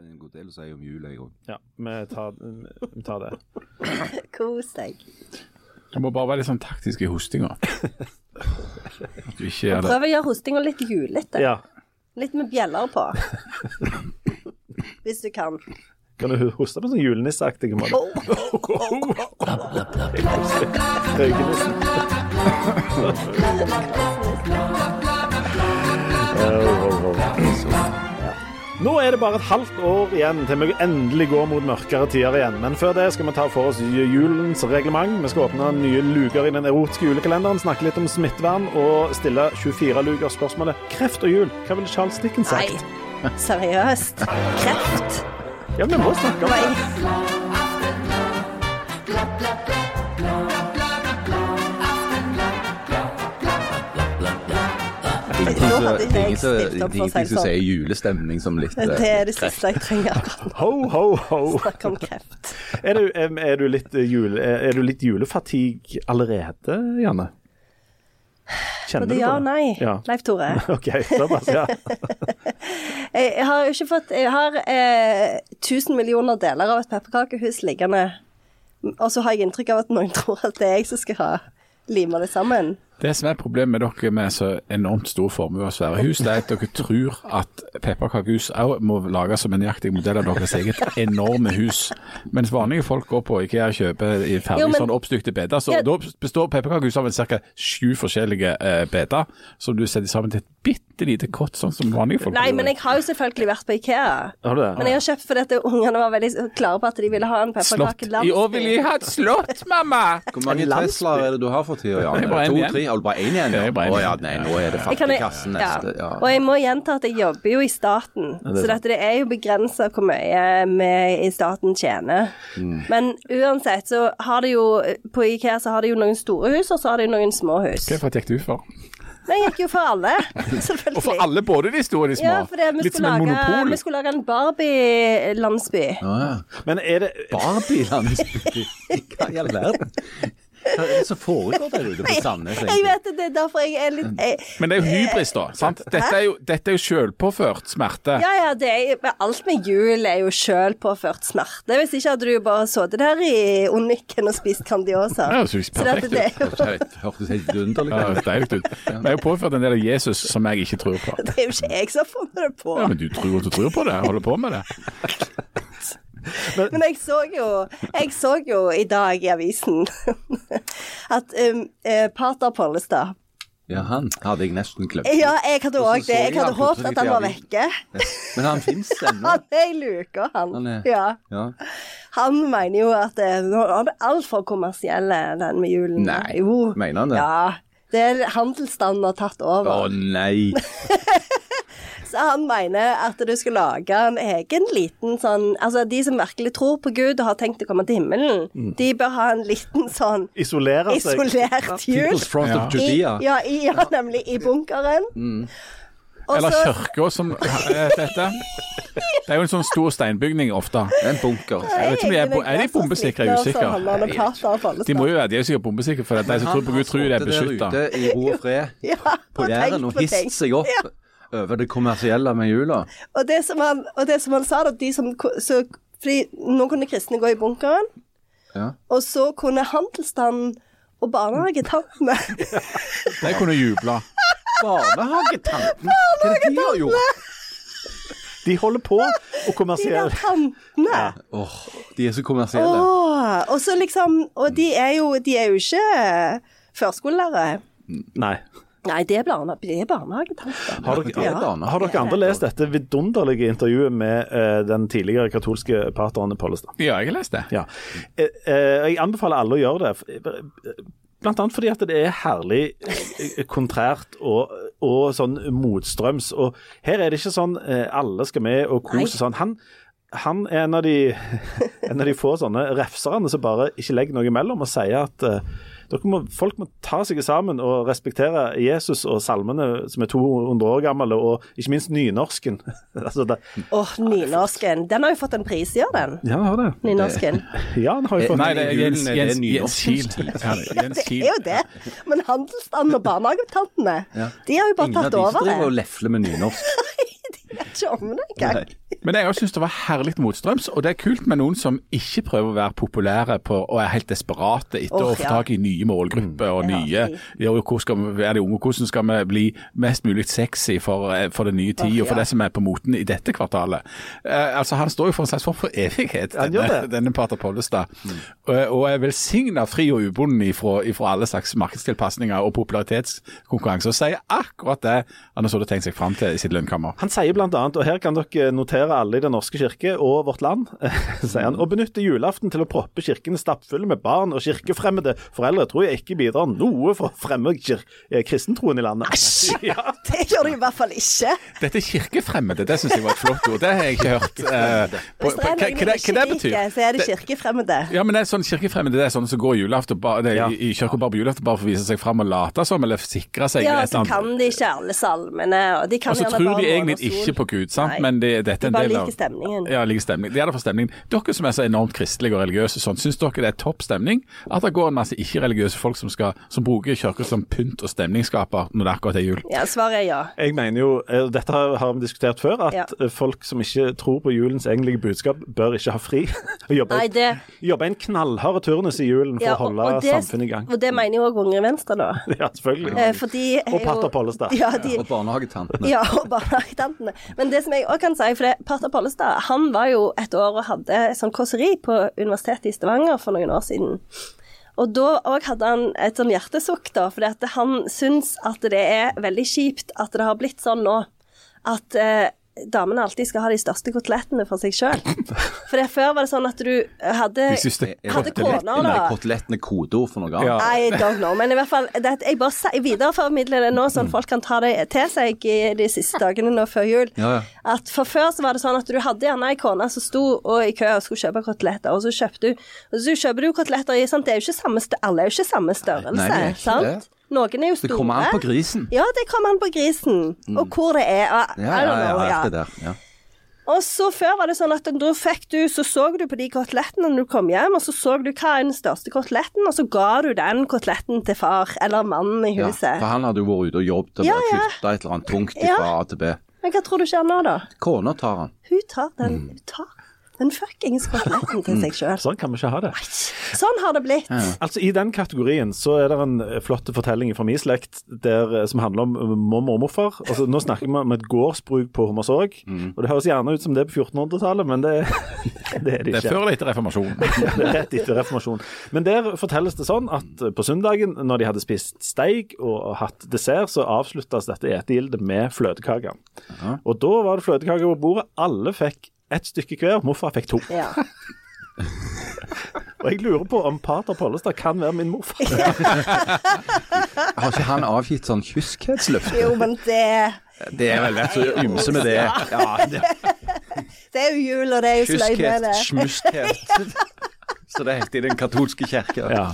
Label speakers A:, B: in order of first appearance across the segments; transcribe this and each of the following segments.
A: en god del å si om jula, jeg òg.
B: Ja, vi tar, vi tar det.
C: Kos deg.
D: Du må bare være litt sånn taktisk i hostinga. At du ikke gjør det.
C: Prøv å gjøre hostinga litt julete.
B: Ja,
C: Litt med bjeller på. Hvis du kan.
B: kan du hoste på sånn julenisseaktig måte? Røykenissen. Nå er det bare et halvt år igjen til vi endelig går mot mørkere tider igjen. Men før det skal vi ta for oss julens reglement. Vi skal åpne nye luker i den erotiske julekalenderen, snakke litt om smittevern og stille 24-lukerspørsmålet kreft og jul. Hva ville Charles Dickens
C: Nei,
B: sagt?
C: seriøst. Kreft.
B: Ja, vi må snakke om
C: Nei.
B: det.
A: Ingenting
C: Nå hadde
A: som-
C: ikke jeg
A: ingenting som-
C: stilt opp for å si det
A: ingenting som
C: sånn.
A: sier julestemning som litt eh,
C: Det er Oh. det siste jeg trenger akkurat nå.
B: Ho, ho, ho.
C: Snakke om kreft.
B: Er du, em, er du litt, eh, jule, er du litt julefatigue allerede, Janne? Kjenner
C: Både ja og
B: du på
C: nei,
B: det? Ja.
C: Leif Tore.
B: OK, såpass, ja.
C: Jeg, jeg har jo ikke fått Jeg har eh, 1000 millioner deler av et pepperkakehus liggende. Og så har jeg inntrykk av at noen tror at det er jeg som skal ha lima det sammen.
D: Det som er problemet med dere med så enormt stor formue og svære hus, det er at dere tror at pepperkakehus òg må lages som en nøyaktig modell av deres eget enorme hus. Mens vanlige folk går på IKEA og kjøper i ferdig
C: Jo, men-
D: sånn oppstykte beder. Så
C: Ja.
D: da består pepperkakehuset av ca. sju forskjellige eh, beder som du setter sammen til et bitte lite kott, sånn som vanlige folk
C: Nei,
D: gjør.
C: men jeg har jo selvfølgelig vært på Ikea.
B: Har du det?
C: Men jeg har kjøpt fordi at ungene var veldig klare på at de ville ha en
D: Slott.
C: pepperkake
D: I år vil jeg ha et slott, mamma!
A: Hvor mange
B: En landsby.
A: Teslaer er det du har for tida, Jan?
D: Det er bare en
A: to,
D: igjen.
A: tre? Er det bare én igjen?
D: Det
A: ja?
D: er bare en
A: Å ja,
D: igjen.
A: nei, nå er det
C: Jeg kan-
A: fattigkassen neste.
C: Ja.
A: Ja.
C: Og jeg må gjenta at jeg jobber jo i staten,
B: er
C: så
B: sant.
C: dette det er jo begrensa hvor mye vi i staten tjener. Men uansett så har det jo På Ikea så har det jo noen store hus, og så har det jo noen små hus.
D: Hva gikk du for?
C: Men jeg gikk jo for alle,
D: Og for
C: selvfølgelig.
D: alle, både de store og de små.
C: Ja, for det, vi,
D: Litt som
C: skulle
D: en
C: lage,
D: monopol.
C: vi skulle lage en Barbie-landsby.
B: Men er det
A: Barbie-landsby? Hva i all verden? Hva er det som foregår der ute på Sandnes?
C: Jeg vet det, det er derfor jeg er litt jeg,
D: Men det er jo hybris, da. sant? Dette er jo, dette er jo selvpåført smerte.
C: Ja, ja, det er, men alt med jul er jo sjøl påført smerte. Hvis ikke hadde du jo bare sittet der i onniken og spist Candiosa.
D: Ja, det høres
C: Så dette,
D: perfekt
C: det
D: ut.
C: er jo
A: Hørtes helt- Hørtes helt vidunderlig
D: Ja, det
A: ut.
D: er deilig ut. Men jeg har påført en del av Jesus som jeg ikke tror på.
C: Det er jo ikke jeg som har funnet det på.
D: Ja, men du tror at du tror på det, holder på med det.
C: Men jeg så jo, jeg så jo i dag i avisen at um, eh, pater Pollestad
A: Ja, han hadde jeg nesten glemt.
C: Ja, jeg hadde
A: Og så
C: òg
A: så
C: det. Jeg
A: jeg
C: hadde
A: han
C: håpet at han var
A: plutselig
C: vekke.
A: Men han fins ennå.
C: Han er i luka,
A: Han
C: han.
A: er-
C: Ja.
A: Ja.
C: Han mener jo at eh, nå er det altfor kommersielle, den med julen.
A: Nei,
C: jo.
A: mener han det?
C: Ja. Det er handelsstanden har tatt
A: Å
C: over.
A: nei.
C: Så han mener at du skal lage en egen liten sånn Altså, de som virkelig tror på Gud og har tenkt å komme til himmelen,
D: Mm.
C: de bør ha en liten sånn
B: isolere
D: altså,
B: seg?
C: isolert jul.
A: People's Front
D: Ja.
A: of
C: I,
A: Judea.
C: ja, i, ja, nemlig i bunkeren. Og
D: Mm. Eller
C: så
D: kirka som eh, dette. Det er jo en sånn stor steinbygning ofte.
A: En bunker.
D: Jeg vet ikke om de er, bo- er de bombesikre, jeg er
C: sånn
D: usikker.
C: usikker.
D: De må jo være, de er sikkert bombesikre, for de som tror på Gud, tror de er beskytta.
A: Han har sittet der ute i ro og fred
C: ja,
A: på
C: og tenkt
A: Jæren og hisset seg opp
C: Ja.
A: over det kommersielle med jula.
C: Og det som han, og det som han sa, da, de som ko- så, Fordi nå kunne kristne gå i bunkeren,
A: Ja.
C: og så kunne handelsstanden og barnehagetantene
D: De kunne jubla.
A: Barnehagetanten, hva er det de har gjort?
B: De holder på å
C: De der
B: kommersiere.
C: tantene.
A: Åh, de er så
C: Åh,
A: kommersielle.
C: og så liksom Og de er jo, de er jo ikke førskolelærere.
B: Nei.
C: Nei, det er, barne, det er barnehagetanter.
B: Har dere,
A: Ja.
B: har dere andre lest dette vidunderlige intervjuet med eh, den tidligere katolske pateren Pollestad?
D: Ja, jeg har lest det.
B: Ja. Eh, eh, jeg anbefaler alle å gjøre det. eh, Blant annet fordi at det er herlig eh, kontrært og, og sånn motstrøms. Og her er det ikke sånn eh, alle skal med og
C: Nei.
B: kose sånn. Han, han er en av, de, en av de få sånne refserne som bare ikke legger noe imellom og sier at eh, dere må, folk må ta seg sammen og respektere Jesus og salmene som er 200 år gamle, og ikke minst nynorsken. altså det,
C: Åh, nynorsken. Den har jo fått en pris i år, den.
B: ja, han har det. Eh,
C: Nynorsken.
B: Ja, han har jo fått
D: Nei, det er Jens,
A: Julen er det
D: Jens, Jens
A: nynorskens
D: Kiel. Ja, det er Jens
C: Det
D: Kiel.
C: er jo det. Men handelsstanden og barnehagetantene,
A: Ja.
C: de har jo bare
A: Ingen av
C: tatt
A: de som
C: over det.
A: driver og lefler med nynorsk.
C: De vet ikke om det engang.
A: Nei.
D: Men jeg også syns det var herlig motstrøms, og det er kult med noen som ikke prøver å være populære på, og er helt desperate etter
C: Åh,
D: å få
C: ja. Mm.
D: tak i nye målgrupper og
C: Ja,
D: nye
C: jeg-
D: ja, og hvor skal vi være de unge, hvordan skal vi bli mest mulig sexy for, eh, for den nye tid
C: Åh,
D: og for
C: ja.
D: det som er på moten i dette kvartalet. Eh, altså Han står jo for en slags form for evighet,
B: Han gjør
D: denne,
B: det.
D: denne Pater Pollestad,
C: Mm.
D: og, og er velsigna fri og ubunden ifra, ifra alle slags markedstilpasninger og popularitetskonkurranser, og sier akkurat det han har sittet og tenkt seg fram til i sitt lønnkammer.
B: Han sier blant annet, og her kan dere notere alle i Den norske kirke og vårt land, sier han, å benytte julaften til å proppe kirkene stappfulle med barn og kirkefremmede foreldre tror jeg ikke bidrar noe for å fremme kir eh, kristentroen i landet. Ja.
C: Det gjør du i hvert fall ikke.
D: Dette er kirkefremmede, det syns jeg var et flott ord. Det har jeg ikke hørt. eh, på-
C: Hvis
D: på-
C: det
D: Hva
C: er noen
D: hva det
C: jeg
D: hva det
C: ikke liker, så
D: betyr?
C: er det kirkefremmede.
D: Ja, men det er sånn Kirkefremmede det er sånne som går i julaften bare, det, er
B: Ja.
D: i, i kirka bare på julaften bare for å vise seg fram og late som, eller sikre seg.
C: Ja,
D: et
C: så
D: eller
C: kan
D: annet.
C: de ikke alle salmene, og de kan
D: og så
C: gjerne
D: Altså, tror
C: bare
D: de egentlig
C: måne og sol.
D: ikke på Gud, sant?
C: Nei.
D: men det, dette er en
C: De bare
D: del av
C: liker stemningen.
D: Ja, liker stemningen. De er der for stemningen. Dere som er så enormt kristelige og religiøse, sånn, syns dere det er topp stemning at det går en masse ikke-religiøse folk som, skal, som bruker kirka som pynt og stemningsskaper når det akkurat er jul?
C: Ja, svaret er ja.
B: Jeg mener jo, eh, og dette har har vi diskutert før, at
C: Ja.
B: eh, folk som ikke tror på julens egentlige budskap, bør ikke ha fri. og jobbe,
C: Nei, det
B: jobbe en knallhard turnus i julen for
C: ja,
B: å holde samfunnet i gang.
C: Og det mener jo òg Unge Venstre, da.
B: Ja, selvfølgelig.
C: Eh, For de er
B: Og
C: jo-
B: Pater Pollestad.
C: Ja, de,
A: Og barnehagetantene.
C: ja, og barnehagetantene. Men det som jeg òg kan si, for det, Pater Pollestad han var jo et år og hadde sånn kåseri på Universitetet i Stavanger for noen år siden. Og da òg hadde han et sånn hjertesukk, da, fordi at han syns at det er veldig kjipt at det har blitt sånn nå at eh, damene alltid skal ha de største kotelettene for seg sjøl. For det, før var det sånn at du hadde
D: Jeg synes det er
C: Hadde
D: kotelettene-
C: kona da
A: Kotelettene kodeord for noe
D: Ja.
A: annet.
C: I don't know, men i hvert fall det, at Jeg bare sier- jeg videreformidler det nå,
A: Mm.
C: sånn folk kan ta det til seg i de siste dagene nå før jul.
A: Ja, ja.
C: At For før så var det sånn at du hadde gjerne ei kone som sto og i kø og skulle kjøpe koteletter, og så kjøpte du Og så kjøper du koteletter i sant, det er jo ikke samme stør- Alle er jo ikke samme størrelse,
A: Nei, det er ikke
C: sant?
A: det.
C: Noen er jo
A: Det
C: store.
A: kommer an på grisen. Mm.
C: Ja, det kommer an på grisen, og hvor det er. Og, I
A: Ja,
C: don't
A: ja, ja,
C: know, ja.
A: alt det der. Ja.
C: Og så før var det sånn at da fikk du, så så du på de kotelettene når du kom hjem, og så så du hva er den største koteletten, og så ga du den koteletten til far eller mannen i
A: Ja,
C: huset.
A: for han hadde jo vært ute og jobbet og
C: Ja,
A: bare
C: ja.
A: flytta et eller annet tungt
C: Ja.
A: fra A til B.
C: Men hva tror du skjer nå, da?
A: Kona tar han.
C: Hun tar den, hun tar den fuckings koteletten til seg sjøl.
B: Sånn kan vi ikke ha det.
C: Sånn har det blitt.
B: Altså I den kategorien så er det en eh, flott fortelling fra min slekt der, eh, som handler om eh, mormor og morfar. Altså, nå snakker vi om et gårdsbruk på Hommersåk, og det høres gjerne ut som det er på 1400-tallet, men det, det er det
D: Det er
B: ikke.
D: før eller etter reformasjonen.
B: Det er Rett etter reformasjonen. Men der fortelles det sånn at eh, på søndagen, når de hadde spist steik og hatt dessert, så avsluttes dette etegildet med fløtekake. Og da var det fløtekake på bordet. Alle fikk ett stykke hver. Morfar fikk to.
C: Ja.
B: Og jeg lurer på om pater Pollestad kan være min morfar.
A: Har ikke han avgitt sånn kyskhetsløfte?
C: Jo, men det
A: Det er vel lett å ymse med det. Ja, det
C: Det er jo jul, og det er jo sløy med
A: Kyskhet,
C: det.
A: smuskhet. Så det heter i den katolske kirke.
B: Ja.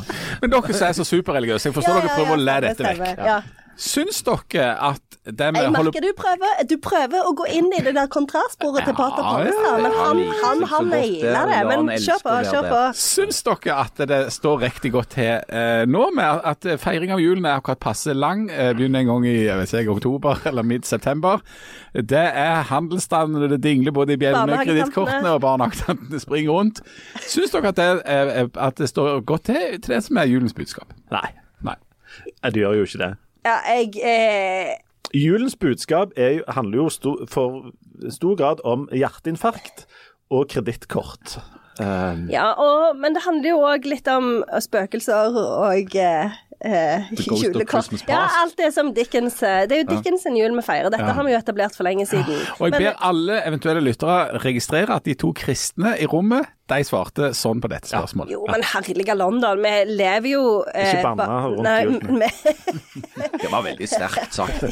D: Men dere som er så superreligiøse, jeg forstår
C: Ja,
D: dere
C: ja,
D: prøver å
C: ja,
D: le
C: stemmer,
D: dette vekk.
C: stemmer. Ja.
D: Syns dere at det vi
C: Jeg
D: holder
C: merker du prøver, du prøver å gå inn i det der kontrastsporet til Pater
D: Ja,
C: Pollestad, men han,
A: ja, ja. Så godt
C: han, han
A: det er,
C: nailer det.
A: la
C: Men
A: han elske
C: kjør på,
A: å være
C: kjør på.
D: Syns dere at det står riktig godt til eh, nå, med at eh, feiring av julen er akkurat passe lang, eh, begynner en gang i jeg vet ikke, oktober eller midt-september. Det er handelsstanden, og det dingler både i bjellene,
C: Barnehagetantene.
D: kredittkortene og barnehagetantene springer rundt. Syns dere at det, eh, at det står godt til til det som er julens budskap?
B: Nei,
D: Nei.
B: Nei, det gjør jo ikke det.
C: Ja, jeg eh,
B: Julens budskap er, jo- handler jo sto, for stor grad om hjerteinfarkt og kredittkort. Ehm.
C: Ja, og, men det handler jo òg litt om eh, spøkelser og eh, eh,
A: Ghost of
C: julekort.
A: Christmas Past.
C: Ja, alt det som Dickens eh, Det er jo Dickens sin jul vi feirer. Dette har vi jo etablert for lenge siden.
D: Og jeg
C: Men-
D: ber alle eventuelle lyttere registrere at de to kristne i rommet, de svarte sånn på dette spørsmålet.
C: jo, men herlige London, vi lever jo eh,
B: Ikke banne
C: ba-
B: rundt
C: nei,
B: julen.
C: vi-
A: Det var veldig sterkt sagt.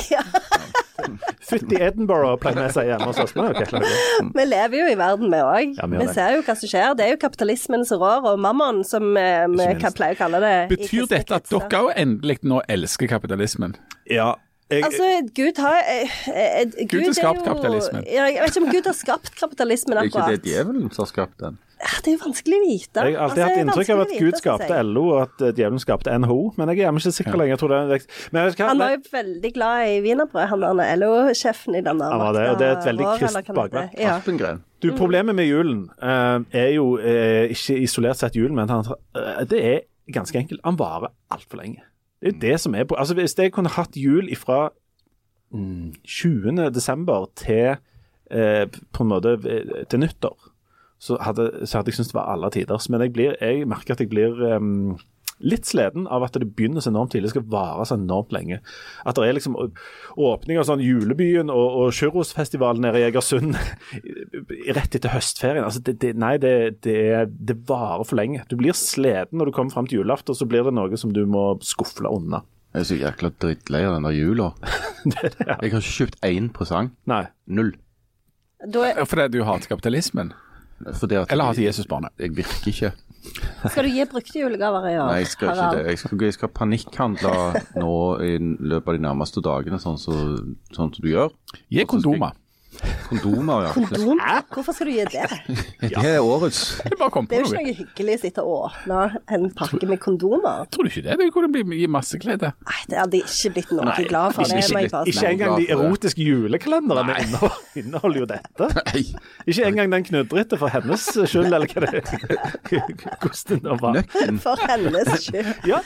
B: Fytti Edinburgh, pleier vi å si hjemme hos oss. Men, ok, klar, det.
C: Vi lever jo i verden, vi òg.
B: Ja, vi gjør
C: vi
B: det.
C: ser jo hva som skjer. Det er jo kapitalismen som rår, og mammon, som eh, vi
B: Ikke minst.
C: kan- pleier å kalle det. i
D: Betyr
C: kristne
D: dette at
C: kretser.
D: dere òg endelig nå elsker kapitalismen?
B: ja, jeg,
C: Altså, Gud har eh, eh, Gud,
D: har
C: er jo-
D: skapt kapitalismen.
C: Ja, jeg vet ikke om Gud har skapt kapitalismen
A: Det er ikke
C: akkurat.
A: det djevelen som har skapt den.
C: Ja, Det er jo vanskelig å vite. Altså,
B: jeg har alltid hatt inntrykk av at Gud skapte
C: Ellen.
B: LO og at eh, djevelen skapte NHO, men jeg er jammen ikke sikker lenger. Jeg tror det er en vekst. Men vet du hva?
C: Han var
B: Nei,
C: jo veldig glad i wienerbrød, han der LO-sjefen i den der
B: Han var det, og det er et
C: makta
B: veldig
C: vår,
B: kristent
C: eller hva det heter.
B: bakverk.
C: Ja.
A: Aspengren.
B: Du, problemet med julen eh, er jo eh, ikke isolert sett julen, men han, eh, det er ganske enkelt. Han varer altfor lenge. Det er jo det som er på Altså, hvis jeg kunne hatt jul ifra mm, 20. desember til eh, på en måte eh, til nyttår, så hadde, så hadde jeg syntes det var alle tiders. Men jeg, blir, jeg merker at jeg blir eh, em, litt sliten av at det begynner så enormt tidlig, det skal vare så enormt lenge. At det er liksom å- åpning av sånn Julebyen og, og Churrosfestivalen nede i Egersund rett etter høstferien. Altså, det, det, nei, det, det, er- det varer for lenge. Du blir sliten når du kommer fram til julaften, så blir det noe som du må skufle unna.
E: Jeg er så jækla drittlei av den der jula. Jeg har ikke kjøpt én presang.
B: Nei.
E: Null.
C: Da er,
D: Fordi du hater kapitalismen?
E: Fordi at
D: Eller hater
E: jeg,
D: Jesusbarnet?
E: jeg virker ikke.
C: skal du gi brukte julegaver i år?
E: Nei, jeg skal ikke
C: Harald?
E: det. Jeg skal, jeg skal panikkhandle nå i løpet av de nærmeste dagene, sånn som sånn som du gjør.
D: Gi kondomer.
E: Kondomer, ja.
C: Kondom? Hvorfor skal du gi det?
E: Det er årets.
D: Jeg bare kom
C: Det er
D: på
C: jo ikke
D: noe.
C: noe hyggelig å sitte og åpne en pakke med kondomer.
D: Tror du ikke det? Det kunne bli gi masse klede.
C: Nei, det hadde jeg ikke blitt noe
E: Nei,
C: glad for.
E: ikke-
C: Det
E: ikke-
C: må jeg bare si.
B: Ikke engang de erotiske julekalenderne inneholder, inneholder jo dette.
E: Nei,
B: Ikke engang den knudrete for hennes skyld, eller hva det Hvordan det nå var.
E: nøkken.
C: For hennes skyld.
B: Ja,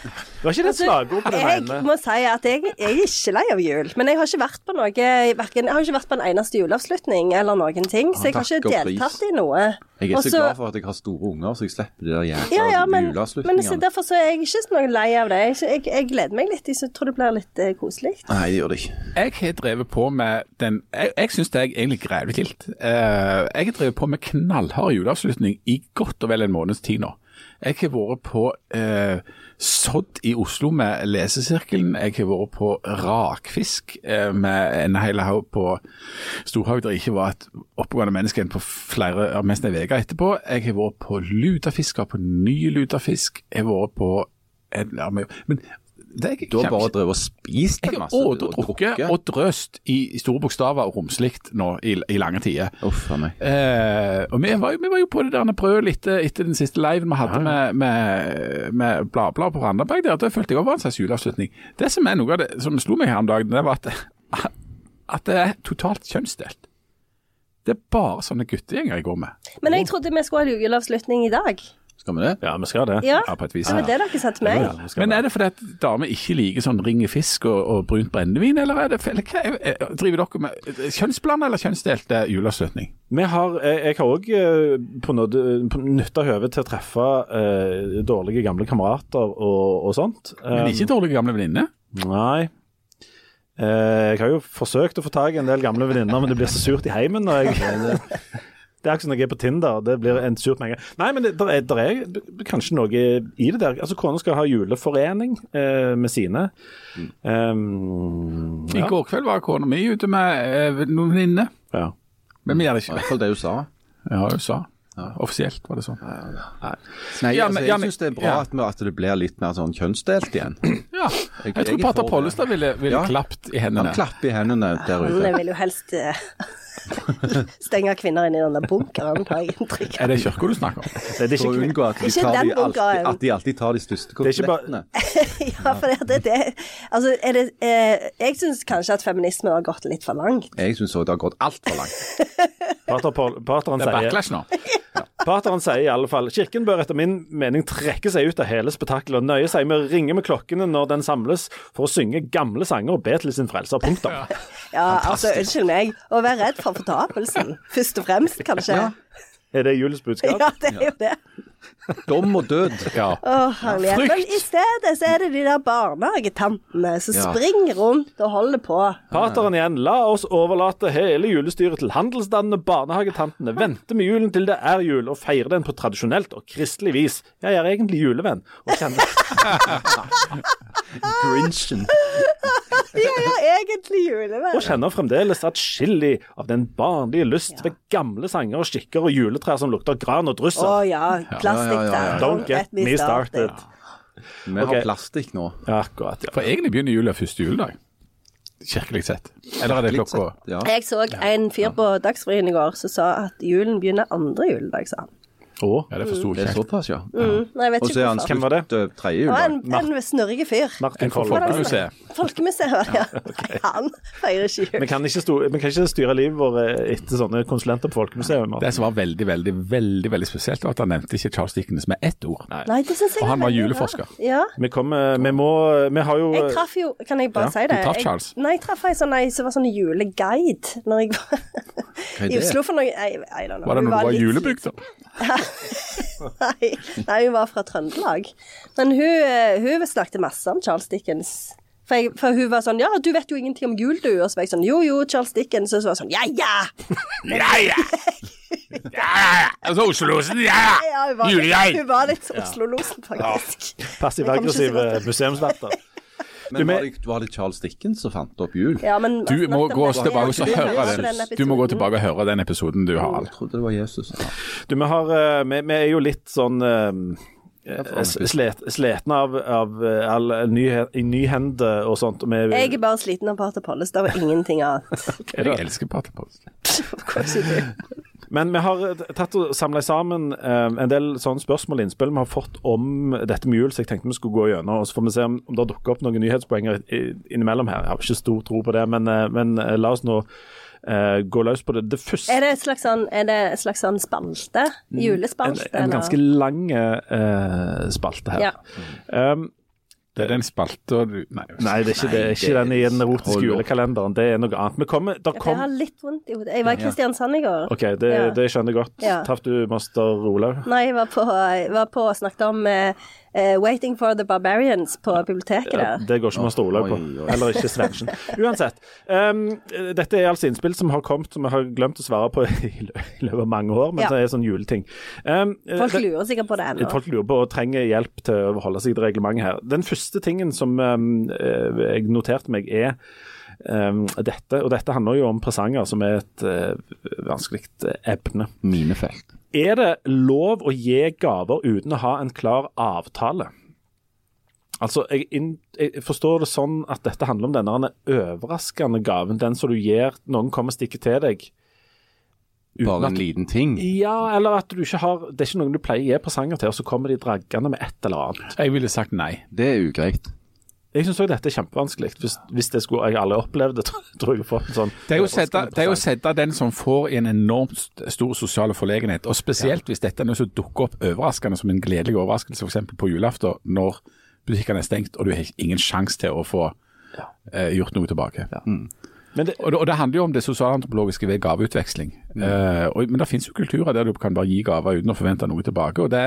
B: var ikke det et slagord på den
C: Altså, Jeg
B: ene?
C: må si at jeg, jeg er ikke lei av jul, men jeg har ikke vært på noe hverken, Jeg har ikke vært på en eneste juleavslutning eller noen ting, så jeg har
E: Takk
C: ikke
E: og pris.
C: deltatt i noe.
E: Jeg er så
C: Også-
E: glad for at jeg har store unger, så jeg slipper de der jævla
C: ja, ja, men, men så
E: juleavslutningene.
C: derfor så er jeg ikke så noe lei av det. Jeg, jeg, jeg gleder meg litt. Jeg så- tror det blir litt eh, koselig.
E: Nei, det gjør det ikke.
D: Jeg har drevet på med den Jeg, jeg syns det er egentlig grevlig gildt. Eh, jeg har drevet på med knallhard juleavslutning i godt og vel en måneds tid nå. Jeg har vært på eh, Sodd i Oslo med lesesirkelen. Jeg har vært på Rakfisk eh, med en hel haug på Storhaug der jeg ikke var et oppegående menneske enn på flere av mest en uke etterpå. Jeg har vært på lutefisk, har på ny lutefisk. Jeg har vært på en, ja, men, men det er
E: Du har bare drevet og spist
D: jeg
E: det
D: har
E: masse.
D: åt og drukket og drøst i, i store bokstaver og romslikt nå i, i lange tider.
E: Uff a meg.
D: Eh, og vi var, jo- vi var jo på det der brødet litt eh, etter den siste liven vi hadde med, med, med Bladblad på Randaberg. der, Da følte jeg også var en slags juleavslutning. Det som er noe av det som slo meg her om dagen, det var at, at det er totalt kjønnsdelt. Det er bare sånne guttegjenger jeg går med.
C: Men jeg trodde vi skulle ha juleavslutning i dag.
E: Skal vi det?
B: Ja, vi skal det.
C: Ja,
D: Ja, på et vis.
C: det var det dere sa til meg.
B: vi skal
D: Men
B: det.
D: er det fordi at damer ikke liker sånn ring i fisk og, og brunt brennevin, eller, er det, eller hva, er- er- driver dere med kjønnsblanda eller kjønnsdelte juleavslutning?
B: Vi har, eh, jeg, jeg har òg på, nåde- på nytta høvet til å treffe eh, dårlige gamle kamerater og, og sånt.
D: Men
B: Um,
D: ikke dårlige gamle venninner?
B: Nei. Eh, jeg har jo forsøkt å få tak i en del gamle venninner, men det blir så surt i heimen. Når jeg, det er ikke som når jeg er på Tinder. Det blir en surt med en gang. Nei, men det der er, der er b- kanskje noe i det der. Altså, Kona skal ha juleforening eh, med sine.
D: Mm.
B: Um,
D: I
B: ja.
D: går kveld var kona mi ute med eh, noen venninner,
B: ja.
D: men vi gjør det
E: I
D: ikke.
E: hvert fall det hun sa.
D: Ja, USA. Offisielt var det sånn.
E: Nei,
D: Ja, men-
E: altså,
D: ja,
E: jeg
D: men-
E: syns det er bra
D: ja.
E: at, vi- at det blir litt mer sånn kjønnsdelt igjen.
D: Ja.
E: Jeg-
D: Jeg tror
E: jeg er
D: Pater
E: for det.
D: Pollestad ville, ville
E: Ja.
D: klapt i
E: Han
D: hendene.
E: klapper i hendene der ute.
C: Han vil jo helst eh, stenge kvinner inn i den der bunkeren, har jeg inntrykk av.
D: Er det kirka du snakker om?
B: Det, det er
E: For å
B: ikke,
E: unngå at de,
C: Ikke
E: tar
C: den
E: de, alltid,
C: bunkeren.
E: at de alltid tar de største
B: er ikke bare-
E: kotelettene.
C: Ja, for det, det, det Altså, er det eh, Jeg syns kanskje at feminismen har gått litt for langt.
E: Jeg syns òg det har gått altfor langt.
B: pater, Pol- pateren
D: Det er
B: sier
D: backlash nå.
B: Pateren sier i alle fall Kirken bør etter min mening trekke seg ut av hele spetakkelet og nøye seg med å ringe med klokkene når den samles, for å synge gamle sanger og be til sin frelser. Punktum.
C: Ja, altså, unnskyld meg. Å være redd for fortapelsen, først og fremst, kanskje.
E: Ja.
B: Er det julens budskap?
C: Ja, det er jo det.
E: Dom og død.
D: Ja.
C: Å, herlighet. Men i stedet så er det de der barnehagetantene som
E: Ja.
C: springer rundt og holder på.
B: Pateren igjen, la oss overlate hele julestyret til handelsstandene, barnehagetantene, vente med julen til det er jul, og feire den på tradisjonelt og kristelig vis. Jeg er egentlig julevenn, og kjenner
E: Grinchen.
C: Ja, ja, egentlig
B: og
C: julevenn.
B: kjenner fremdeles atskillig av den barnlige lyst ved gamle sanger og skikker og juletrær som lukter gran og
C: Å
B: drusser.
C: ja, plastikk
E: ja, ja, ja.
C: der.
B: Don't get me started.
E: Vi har
B: Ok.
E: plastikk nå.
B: Ja, akkurat, ja.
D: For egentlig begynner jula første juledag. Kirkelig sett. Eller er det
E: Litt
D: klokka
E: sett, ja.
C: Jeg så en fyr på Dagsrevyen i går som sa at julen begynner andre juledag, sa han.
B: Og
D: Ja, det forsto
E: Det
D: jeg
E: er
D: ikke.
E: såpass, ja.
C: Mm, nei, jeg vet
E: Og så er
C: ikke
E: han
C: hvorfor.
B: Hvem var det?
E: skutt ø, tredje
C: Det var
E: juledag.
C: en, en snurrig fyr.
B: Martin
D: En fra
B: Kolberg.
D: Folkemuseet.
C: Folkemuseet var det, ja. Nei, han feirer ikke jul.
B: Vi kan ikke, sto, vi kan ikke styre livet vårt etter sånne konsulenter på Folkemuseet. Martin.
D: Det som var veldig, veldig veldig, veldig spesielt, var at han nevnte ikke Charles Dickens med ett ord.
C: Nei, det synes jeg
D: Og han var
C: veldig
D: juleforsker.
C: rart. Ja.
B: Vi, kommer, vi må Vi har jo
C: Jeg traff jo Kan jeg bare
B: Ja,
C: si det?
D: du traff
C: Jeg-
D: Charles.
C: Nei, jeg traff ei sånn ei som var sånn juleguide når jeg var
E: er
C: i
E: det?
C: Oslo for noe I, I don't know.
D: Var det
C: Hun
D: når du var i
C: litt
D: julebygda?
C: Nei, nei, hun var fra Trøndelag. Men hun, eh, hun snakket masse om Charles Dickens. For, jeg, for hun var sånn Ja, du vet jo ingenting om jul, du. Og så var jeg sånn Jo, jo, Charles Dickens. Og så var hun sånn Ja, ja!
D: Ja, ja! Ja, ja! Altså Oslo-losen, ja,
C: ja hun, var litt, hun var litt Oslo-losen, faktisk.
B: eh,
C: Jeg
B: passiv-aggressive
C: kom ikke så godt.
B: museumsverter.
E: Men
B: med-
E: var det, var det Charles Dickens som fant opp jul?
C: Ja, men,
D: Du må
C: snakket
D: gå
C: om-
D: tilbake og
C: Jeg
D: høre
C: hørte
D: den.
C: den
D: Du må gå
C: episoden.
D: tilbake og høre den episoden du har.
E: Jeg trodde det var Jesus. Ja.
B: Du, vi, har, eh, vi, vi er jo litt sånn eh, eh, slet, slitne av, av eh, all nyhe- i nyhende og sånt. og vi-
C: Jeg er bare sliten av Pater Pollestad og ingenting annet.
D: Jeg elsker Paterpost.
B: Men vi har tatt og samla sammen eh, en del sånne spørsmål og innspill vi har fått om dette med jul, så jeg tenkte vi skulle gå gjennom. og Så får vi se om, om det dukker opp noen nyhetspoenger i- innimellom her. Jeg har ikke stor tro på det, men, eh, men eh, la oss nå eh, gå løs på det. Det første
C: Er det et slags sånn, er det et slags sånn spalte?
B: en,
C: Julespalte?
B: en
C: eller?
B: ganske lang eh, spalte her.
C: Ja.
B: Um,
D: Det er den spalta du Nei.
B: nei, det er ikke, det, er ikke den i den erotiske
E: Hold opp.
B: julekalenderen. Det er noe annet. Vi kommer, der
C: Ja, for Jeg
B: kom,
C: har litt vondt i hodet. Jeg var i Kristiansand i går.
B: OK, det,
C: Ja.
B: det skjønner jeg godt.
C: Ja.
B: Traff du master Olaug?
C: Nei, jeg var på, jeg var på og snakket om eh, eh, 'Waiting for the Barbarians' på biblioteket
B: Ja,
C: der.
B: det går ikke master Olaug på.
E: Oi, oi.
B: Eller ikke Svendsen. Uansett. ehm, dette er altså innspill som har kommet som vi har glemt å svare på i lø- i løpet av mange år, men
C: Ja.
B: det er sånn juleting. Ehm,
C: Folk
B: det-
C: lurer sikkert på det ennå.
B: Folk lurer på og trenger hjelp til å holde seg til reglementet her. Den første tingen som ehm, eh, jeg noterte meg, er ehm, dette, og dette handler jo om presanger, som er et eh, vanskelig eh, ebne.
E: Minefelt.
B: Er det lov å gi gaver uten å ha en klar avtale? Altså, jeg, inn, jeg forstår det sånn at dette handler om denne overraskende gaven, den som du gir noen kommer og stikker til deg. Uten
E: Bare
B: at-
E: en liten ting.
B: Ja, eller at du ikke har Det er ikke noen du pleier å gi presanger til, og så kommer de draggende med et eller annet.
D: Jeg ville sagt nei.
E: Det er ugreit.
B: Jeg syns òg dette er kjempevanskelig. Hvis, hvis det skulle jeg aldri opplevd det, tror jeg jeg har fått en sånn
D: Det er jo å sette, det er jo å sette den som får en enormt st- stor sosial forlegenhet, og spesielt hvis dette er noe som dukker opp overraskende som en gledelig overraskelse, f.eks. på julaften når butikkene er stengt og du har ingen sjanse til å få eh, gjort noe tilbake.
B: Men det,
D: Og det, og det handler jo om det sosialantropologiske ved gaveutveksling. Eh, og, men det finnes jo kulturer der du kan bare gi gaver uten å forvente noe tilbake. og Det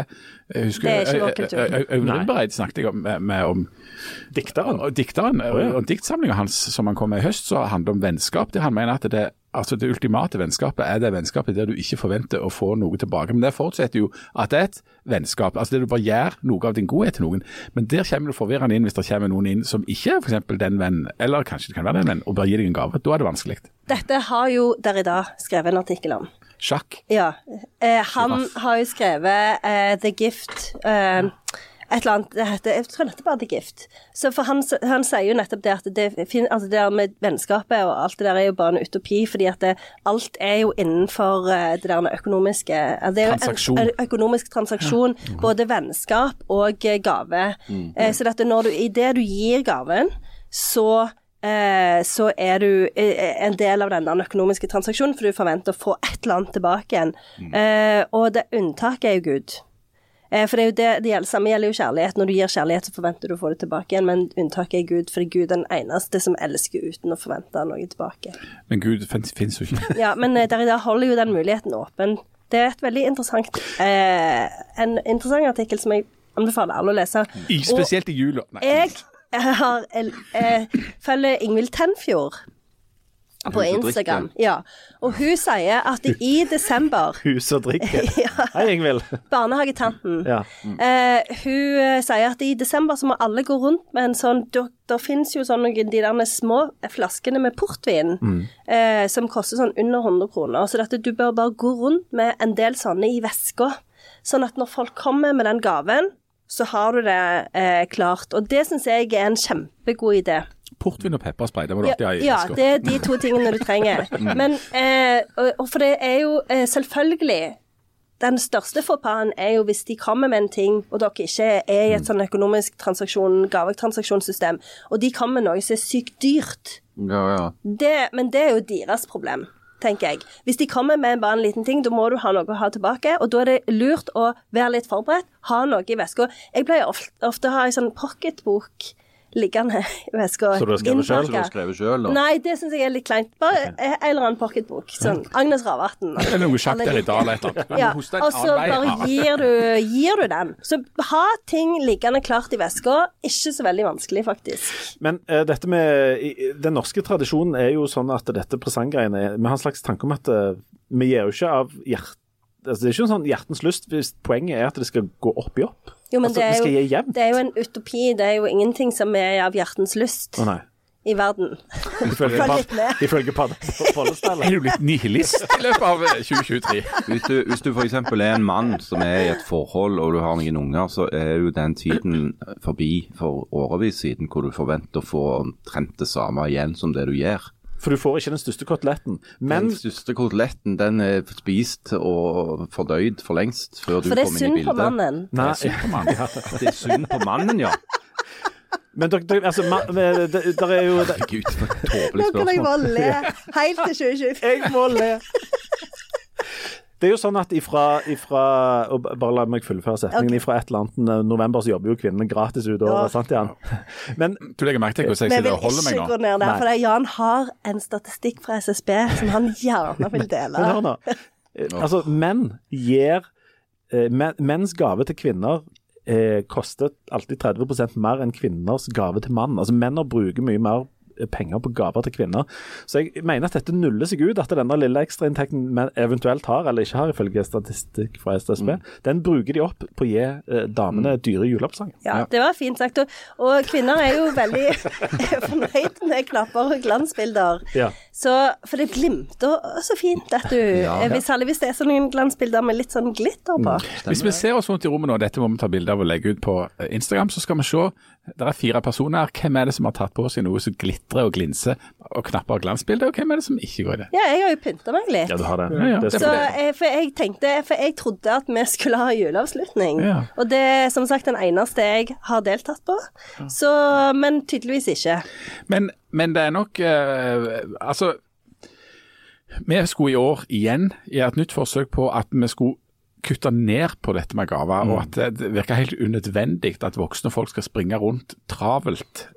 D: jeg eh, husker
C: Det er ikke vår
D: Øy-
C: kultur.
D: Øy- Øy- Øyvind Rimbereid snakket jeg om, med, med om
B: dikteren
D: og dikteren.
B: Å, ja.
D: Og, og diktsamlinga hans som han kom med i høst, så handler om vennskap. Det han mener at det, altså det ultimate vennskapet er det vennskapet der du ikke forventer å få noe tilbake. Men det forutsetter jo at det er et vennskap. Altså det du bare gjør noe av din godhet til noen. Men der kommer du forvirrende inn hvis det kommer noen inn som ikke er f.eks. den venn, eller kanskje det kan være den venn, og bare gir deg en gave. Da er det vanskelig.
C: Dette har jo Derrida skrevet en artikkel om.
D: Sjakk.
C: Ja. Eh, han har jo skrevet eh, The Gift eh, Et eller annet det heter, Jeg tror det heter bare The Gift. Så for han, s- han sier jo nettopp det at det, fin, altså det der med vennskapet og alt det der er jo bare en utopi, fordi at det, alt er jo innenfor eh, det der med økonomiske eh, Det er jo
D: Transaksjon.
C: en, en økonomisk transaksjon, både vennskap og eh, gave. Eh, så dette når du I det du gir gaven, så eh, så er du eh, en del av denne økonomiske transaksjonen, for du forventer å få et eller annet tilbake igjen. Eh, og det unntaket er jo Gud. Eh, for det, er jo det, det gjelder, samme gjelder jo kjærlighet. Når du gir kjærlighet, så forventer du å få det tilbake igjen, men unntaket er Gud, fordi Gud er den eneste som elsker uten å forvente noe tilbake.
D: Men gud fins fins jo ikke.
C: Ja, men eh, der i dag holder jo den muligheten åpen. Det er et veldig interessant eh, En interessant artikkel som jeg anbefaler alle å lese.
D: I- Spesielt i jula. Nei.
C: Jeg har, eh, følger Ingvild Tenfjord på
E: Hun som
C: Instagram.
E: drikker.
C: Ja. Og hun sier at i desember
B: Hus og drikke.
C: ja,
B: Hei, Ingvild.
C: Barnehagetanten.
B: Ja.
C: Eh, hun eh, sier at i desember så må alle gå rundt med en sånn Det fins jo sånne de der små flaskene med portvin eh, som koster sånn under 100 kroner. Så dette, du bør bare gå rundt med en del sånne i veska. Sånn at når folk kommer med den gaven, så har du det eh, klart. Og det syns jeg er en kjempegod idé.
D: Portvin og pepperspray, det må du alltid ha i
C: Ja,
D: veska.
C: det er de
B: Mm.
C: to tingene du trenger. Men, eh, og- og for det er jo eh, selvfølgelig den største forpaen er jo hvis de kommer med en ting, og dere ikke er
B: Mm.
C: i et sånn økonomisk transaksjon, gavetransaksjonssystem, og de kommer med noe som er sykt dyrt.
E: Ja, ja.
C: Det, men det er jo deres problem, tenker jeg. Hvis de kommer med bare en liten ting, da må du ha noe å ha tilbake, og da er det lurt å være litt forberedt, ha noe i veska. Jeg pleier ofte, ofte å ha ei sånn pocketbok liggende i veska.
B: Så du har skrevet selv?
E: Du har skrevet sjøl, da.
C: Nei, det syns jeg er litt kleint. Bare en eller annen pocketbok. Sånn Agnes Ravatn.
D: Eller noe sjakk der i dag eller et eller annet.
C: Ja, og
D: Men hos deg en
C: så
D: annen vei,
C: bare
D: Harald.
C: gir du, gir du den. Så ha ting liggende klart i veska. Ikke så veldig vanskelig, faktisk.
B: Men eh, dette med i- Den norske tradisjonen er jo sånn at dette presanggreiene er- Vi har en slags tanke om at eh, vi gir jo ikke av hjert... Altså, det er ikke en sånn hjertens lyst hvis poenget er at det skal gå opp i opp.
C: Jo, men
B: Altså,
C: det,
B: vi skal
C: er
B: gi
C: jo,
B: jevnt.
C: det er jo en utopi. Det er jo ingenting som er av hjertens lyst
B: Å nei.
C: i verden.
B: Ifølge
C: Følg litt
B: Pad-
C: med.
B: Ifølge Pad- Pollestad.
D: Er du litt nihilist i løpet av eh, 2023?
E: Hvis du, hvis du f.eks. er en mann som er i et forhold og du har noen unger, så er jo den tiden forbi for årevis siden hvor du forventer å få omtrent det samme igjen som det du gjør.
B: For du får ikke den største koteletten. Men
E: Den største koteletten den er spist og fordøyd for lengst før du
C: For det er
E: kom inn i
C: synd på
E: bildet.
C: mannen.
E: Det
B: Nei,
E: er synd på mannen, ja.
B: men dere, dere, altså, ma, det, det, der er jo det,
E: Gud, for et tåpelig spørsmål.
C: bare le helt til 2024.
B: Jeg må le. Det er jo sånn at ifra, ifra og b- Bare la meg fullføre setningen. Ifra et eller annet eh, november så jobber jo kvinnene gratis ut året.
C: Ja.
B: Sant, Jan? Men
D: Du legger merke til hvordan jeg
C: Vi
D: sitter
C: vil
D: og holder meg
C: ikke gå
D: nå?
C: ned der,
B: Nei.
C: for det er Jan har en statistikk fra SSB som han gjerne vil dele.
B: Men hør nå. Eh, Altså, menn gir eh, men- Menns gave til kvinner eh, koster alltid 30 mer enn kvinners gave til mann. Altså, menn bruker mye mer eh, penger på gaver til kvinner. Så jeg mener at dette nuller seg ut, at denne lille ekstrainntekten menn eventuelt har, eller ikke har ifølge statistikk fra SSB, den bruker de opp på å gi eh, damene dyre juleoppsanger.
C: Ja, det var fint sagt. Og, og kvinner er jo veldig fornøyd med knapper og glansbilder.
B: Ja.
C: Så, for det glimter også så fint, vet du. Hvis- Særlig hvis det er sånne glansbilder med litt sånn glitter på.
D: Hvis vi ser oss rundt i rommet nå, dette må vi ta bilde av og legge ut på eh, Instagram, så skal vi se. Det er fire personer her. Hvem er det som har tatt på seg noe som glitrer og glinser og knapper og glansbilder, og hvem er det som ikke går i det?
C: Ja, jeg har jo pynta meg litt.
B: Ja, du har det.
D: Ja, ja.
B: Det er
D: Det
C: Så
D: er
B: sant.
C: jeg, for jeg tenkte, for jeg trodde at vi skulle ha juleavslutning.
D: Ja.
C: Og det er som sagt den eneste jeg har deltatt på. Så, men tydeligvis ikke.
D: Men, men det er nok eh, Altså, vi skulle i år igjen gjøre et nytt forsøk på at vi skulle kutte ned på dette med gaver,
C: Mm.
D: og at det virker helt unødvendig at voksne folk skal springe rundt travelt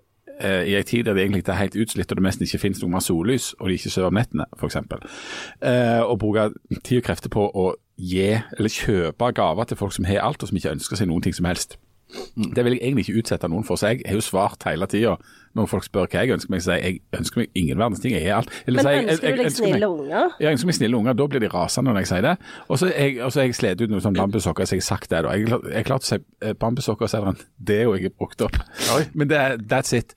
D: eh, i en tid der det egentlig er helt utslitt og det nesten ikke finnes noe mer sollys, og de ikke sover om nettene, f.eks. Eh, og bruke tid og krefter på å gi eller kjøpe gaver til folk som har alt, og som ikke ønsker seg noen ting som helst.
C: Mm.
D: Det vil jeg egentlig ikke utsette noen for, så jeg har jo svart hele tida når folk spør hva jeg ønsker meg, så sier jeg jeg ønsker meg ingen verdens ting, jeg er alt. Eller
C: Men
D: sier jeg, jeg-
C: ønsker du
D: jeg
C: deg
D: ønsker meg-
C: snille unger?
D: ja, jeg ønsker meg snille unger, da blir de rasende når jeg sier det. Og så er jeg, og så er jeg slet ut noen sånn bambusokker, så jeg har sagt det. da. Jeg, klar- jeg klarte å si eh, bambusokker, så er det en det er jo jeg har brukt opp. Men det er, that's it.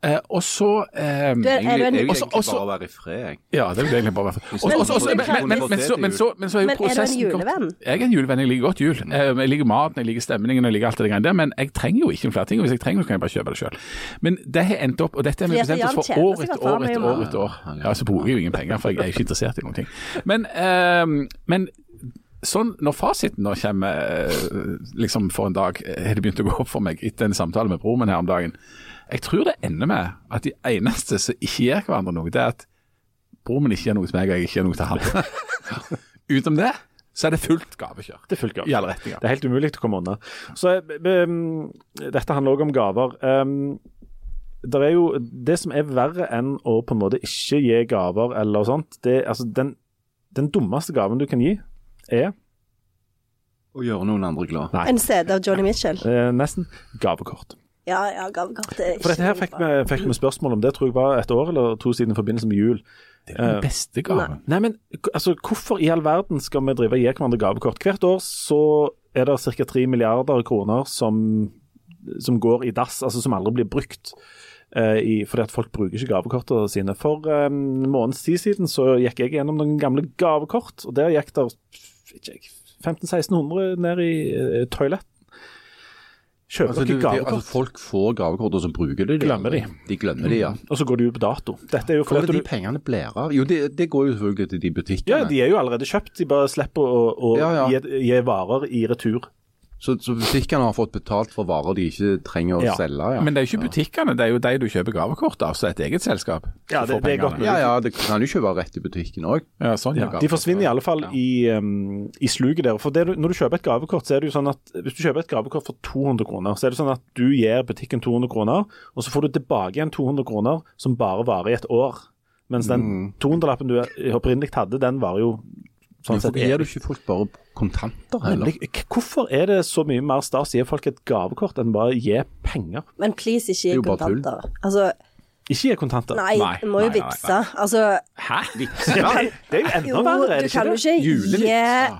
D: Eh, og så eh,
C: Du er, er du
E: Jeg vil
C: en,
E: egentlig
D: Også- også-
E: bare være i fred, jeg.
D: Ja, det vil jeg egentlig bare være.
E: Hvis
D: Og-
E: du
D: og- og-
E: kunne
D: men-
E: få-
D: men- men-
E: kunne få
D: Men
E: se
D: så-
E: til
D: men
E: jul.
D: så men så er jo
C: Men er du en
D: prosessen gått-
C: julevenn?
D: Jeg er en julevenn. Jeg liker godt jul. Eh, Jeg liker maten, jeg liker stemningen, jeg liker alt det der. greiene der, Men jeg trenger jo ikke flere ting. Og hvis jeg trenger noe, så kan jeg bare kjøpe det sjøl. Men det har endt opp, og dette har vi
C: Fordi at
D: bestemt oss
C: Jan
D: for
C: tjener
D: år
C: seg
D: etter
C: godt
D: år
C: varm i
D: etter
C: jul.
D: år. etter år. Ja, så bruker jeg jo ingen penger, for jeg er ikke interessert i noen ting. Men ehm, men sånn, når fasiten nå kommer eh, liksom for en dag, eh, har det begynt å gå opp for meg etter en samtale med broren min her om dagen. Jeg tror det ender med at de eneste som ikke gir hverandre noe, det er at broren min ikke gjør noe til meg, og jeg ikke gjør noe til han. Utenom det, så er det fullt gavekjør.
B: Det er fullt galt.
D: I alle retninger.
B: Det er helt umulig å komme unna. Så eh, b- b- um, Dette handler også om gaver. Um, der er jo, det som er verre enn å på en måte ikke gi gaver eller sånt, det, altså den, den dummeste gaven du kan gi, er
E: Å gjøre noen andre glad.
C: en CD av Johnny Mitchell?
B: eh, nesten gavekort.
C: Ja, ja, eh, gavekort er ikke
B: For dette her fikk vi,
C: bra.
B: fikk vi spørsmål om, det tror jeg var et år eller to siden i forbindelse med jul.
D: Det er den beste gaven.
B: Eh, Nei, men k- altså, hvorfor i all verden skal vi drive og gi hverandre gavekort? Hvert år så er det ca. 3 milliarder kroner som, som går i dass, altså som aldri blir brukt. eh, i, fordi at folk bruker ikke gavekortene sine. For eh, en måneds tid siden så gikk jeg gjennom noen gamle gavekort, og der gikk der 1500-1600 ned i uh, toiletten. eh, Kjøper
E: Altså, du, de,
B: dere gavekort,
E: altså, folk får gavekort, og så bruker de det.
B: Glemmer de.
E: De glemmer de, ja.
B: og så går det ut på dato. Dette er jo
E: Hvor er
B: fordi at
E: det
B: du
E: de pengene blir av? Jo, det, det går jo selvfølgelig til de butikkene.
B: Ja, de er jo allerede kjøpt, de bare slipper å, å
E: Ja, ja.
B: Gi, gi varer i retur.
E: så, så butikkene har fått betalt for varer de ikke trenger å
B: Ja.
E: selge, ja.
D: Men det er jo ikke butikkene, det er jo de du kjøper gavekort av, så et eget selskap.
B: Ja,
D: som
B: det- det er
D: får pengene.
B: godt mulig.
E: ja, ja, det kan jo ikke være rett i butikken òg.
D: Ja, sånn, ja.
B: De forsvinner i alle
E: altså,
B: fall i, um, i sluket der. For det du, når du kjøper et gavekort, så er det jo sånn at hvis du kjøper et gavekort for 200 kroner, så er det sånn at du gir butikken 200 kroner, og så får du tilbake igjen 200 kroner som bare varer i et år. Mens
E: Mm.
B: den 200-lappen du opprinnelig hadde, den varer jo sånn
E: Hvorfor
B: sett
E: gir du
B: evig.
E: ikke folk bare kontanter heller?
B: Nemlig, k- hvorfor er det så mye mer stas å gi folk et gavekort enn bare å gi penger?
C: Men please, ikke
E: er
C: gi
E: jo bare tull.
C: kontanter. Altså,
B: Ikke gi kontanter.
C: nei,
D: Nei,
C: du må jo
D: nei, nei, nei.
C: vippse. Altså,
D: Hæ?
E: Ja,
B: Det er jo
C: jo,
B: enda verre, er
C: du
B: det
C: kan
B: ikke
C: jo
B: det?
C: ikke
D: Julelitt.
C: gi
D: Ja.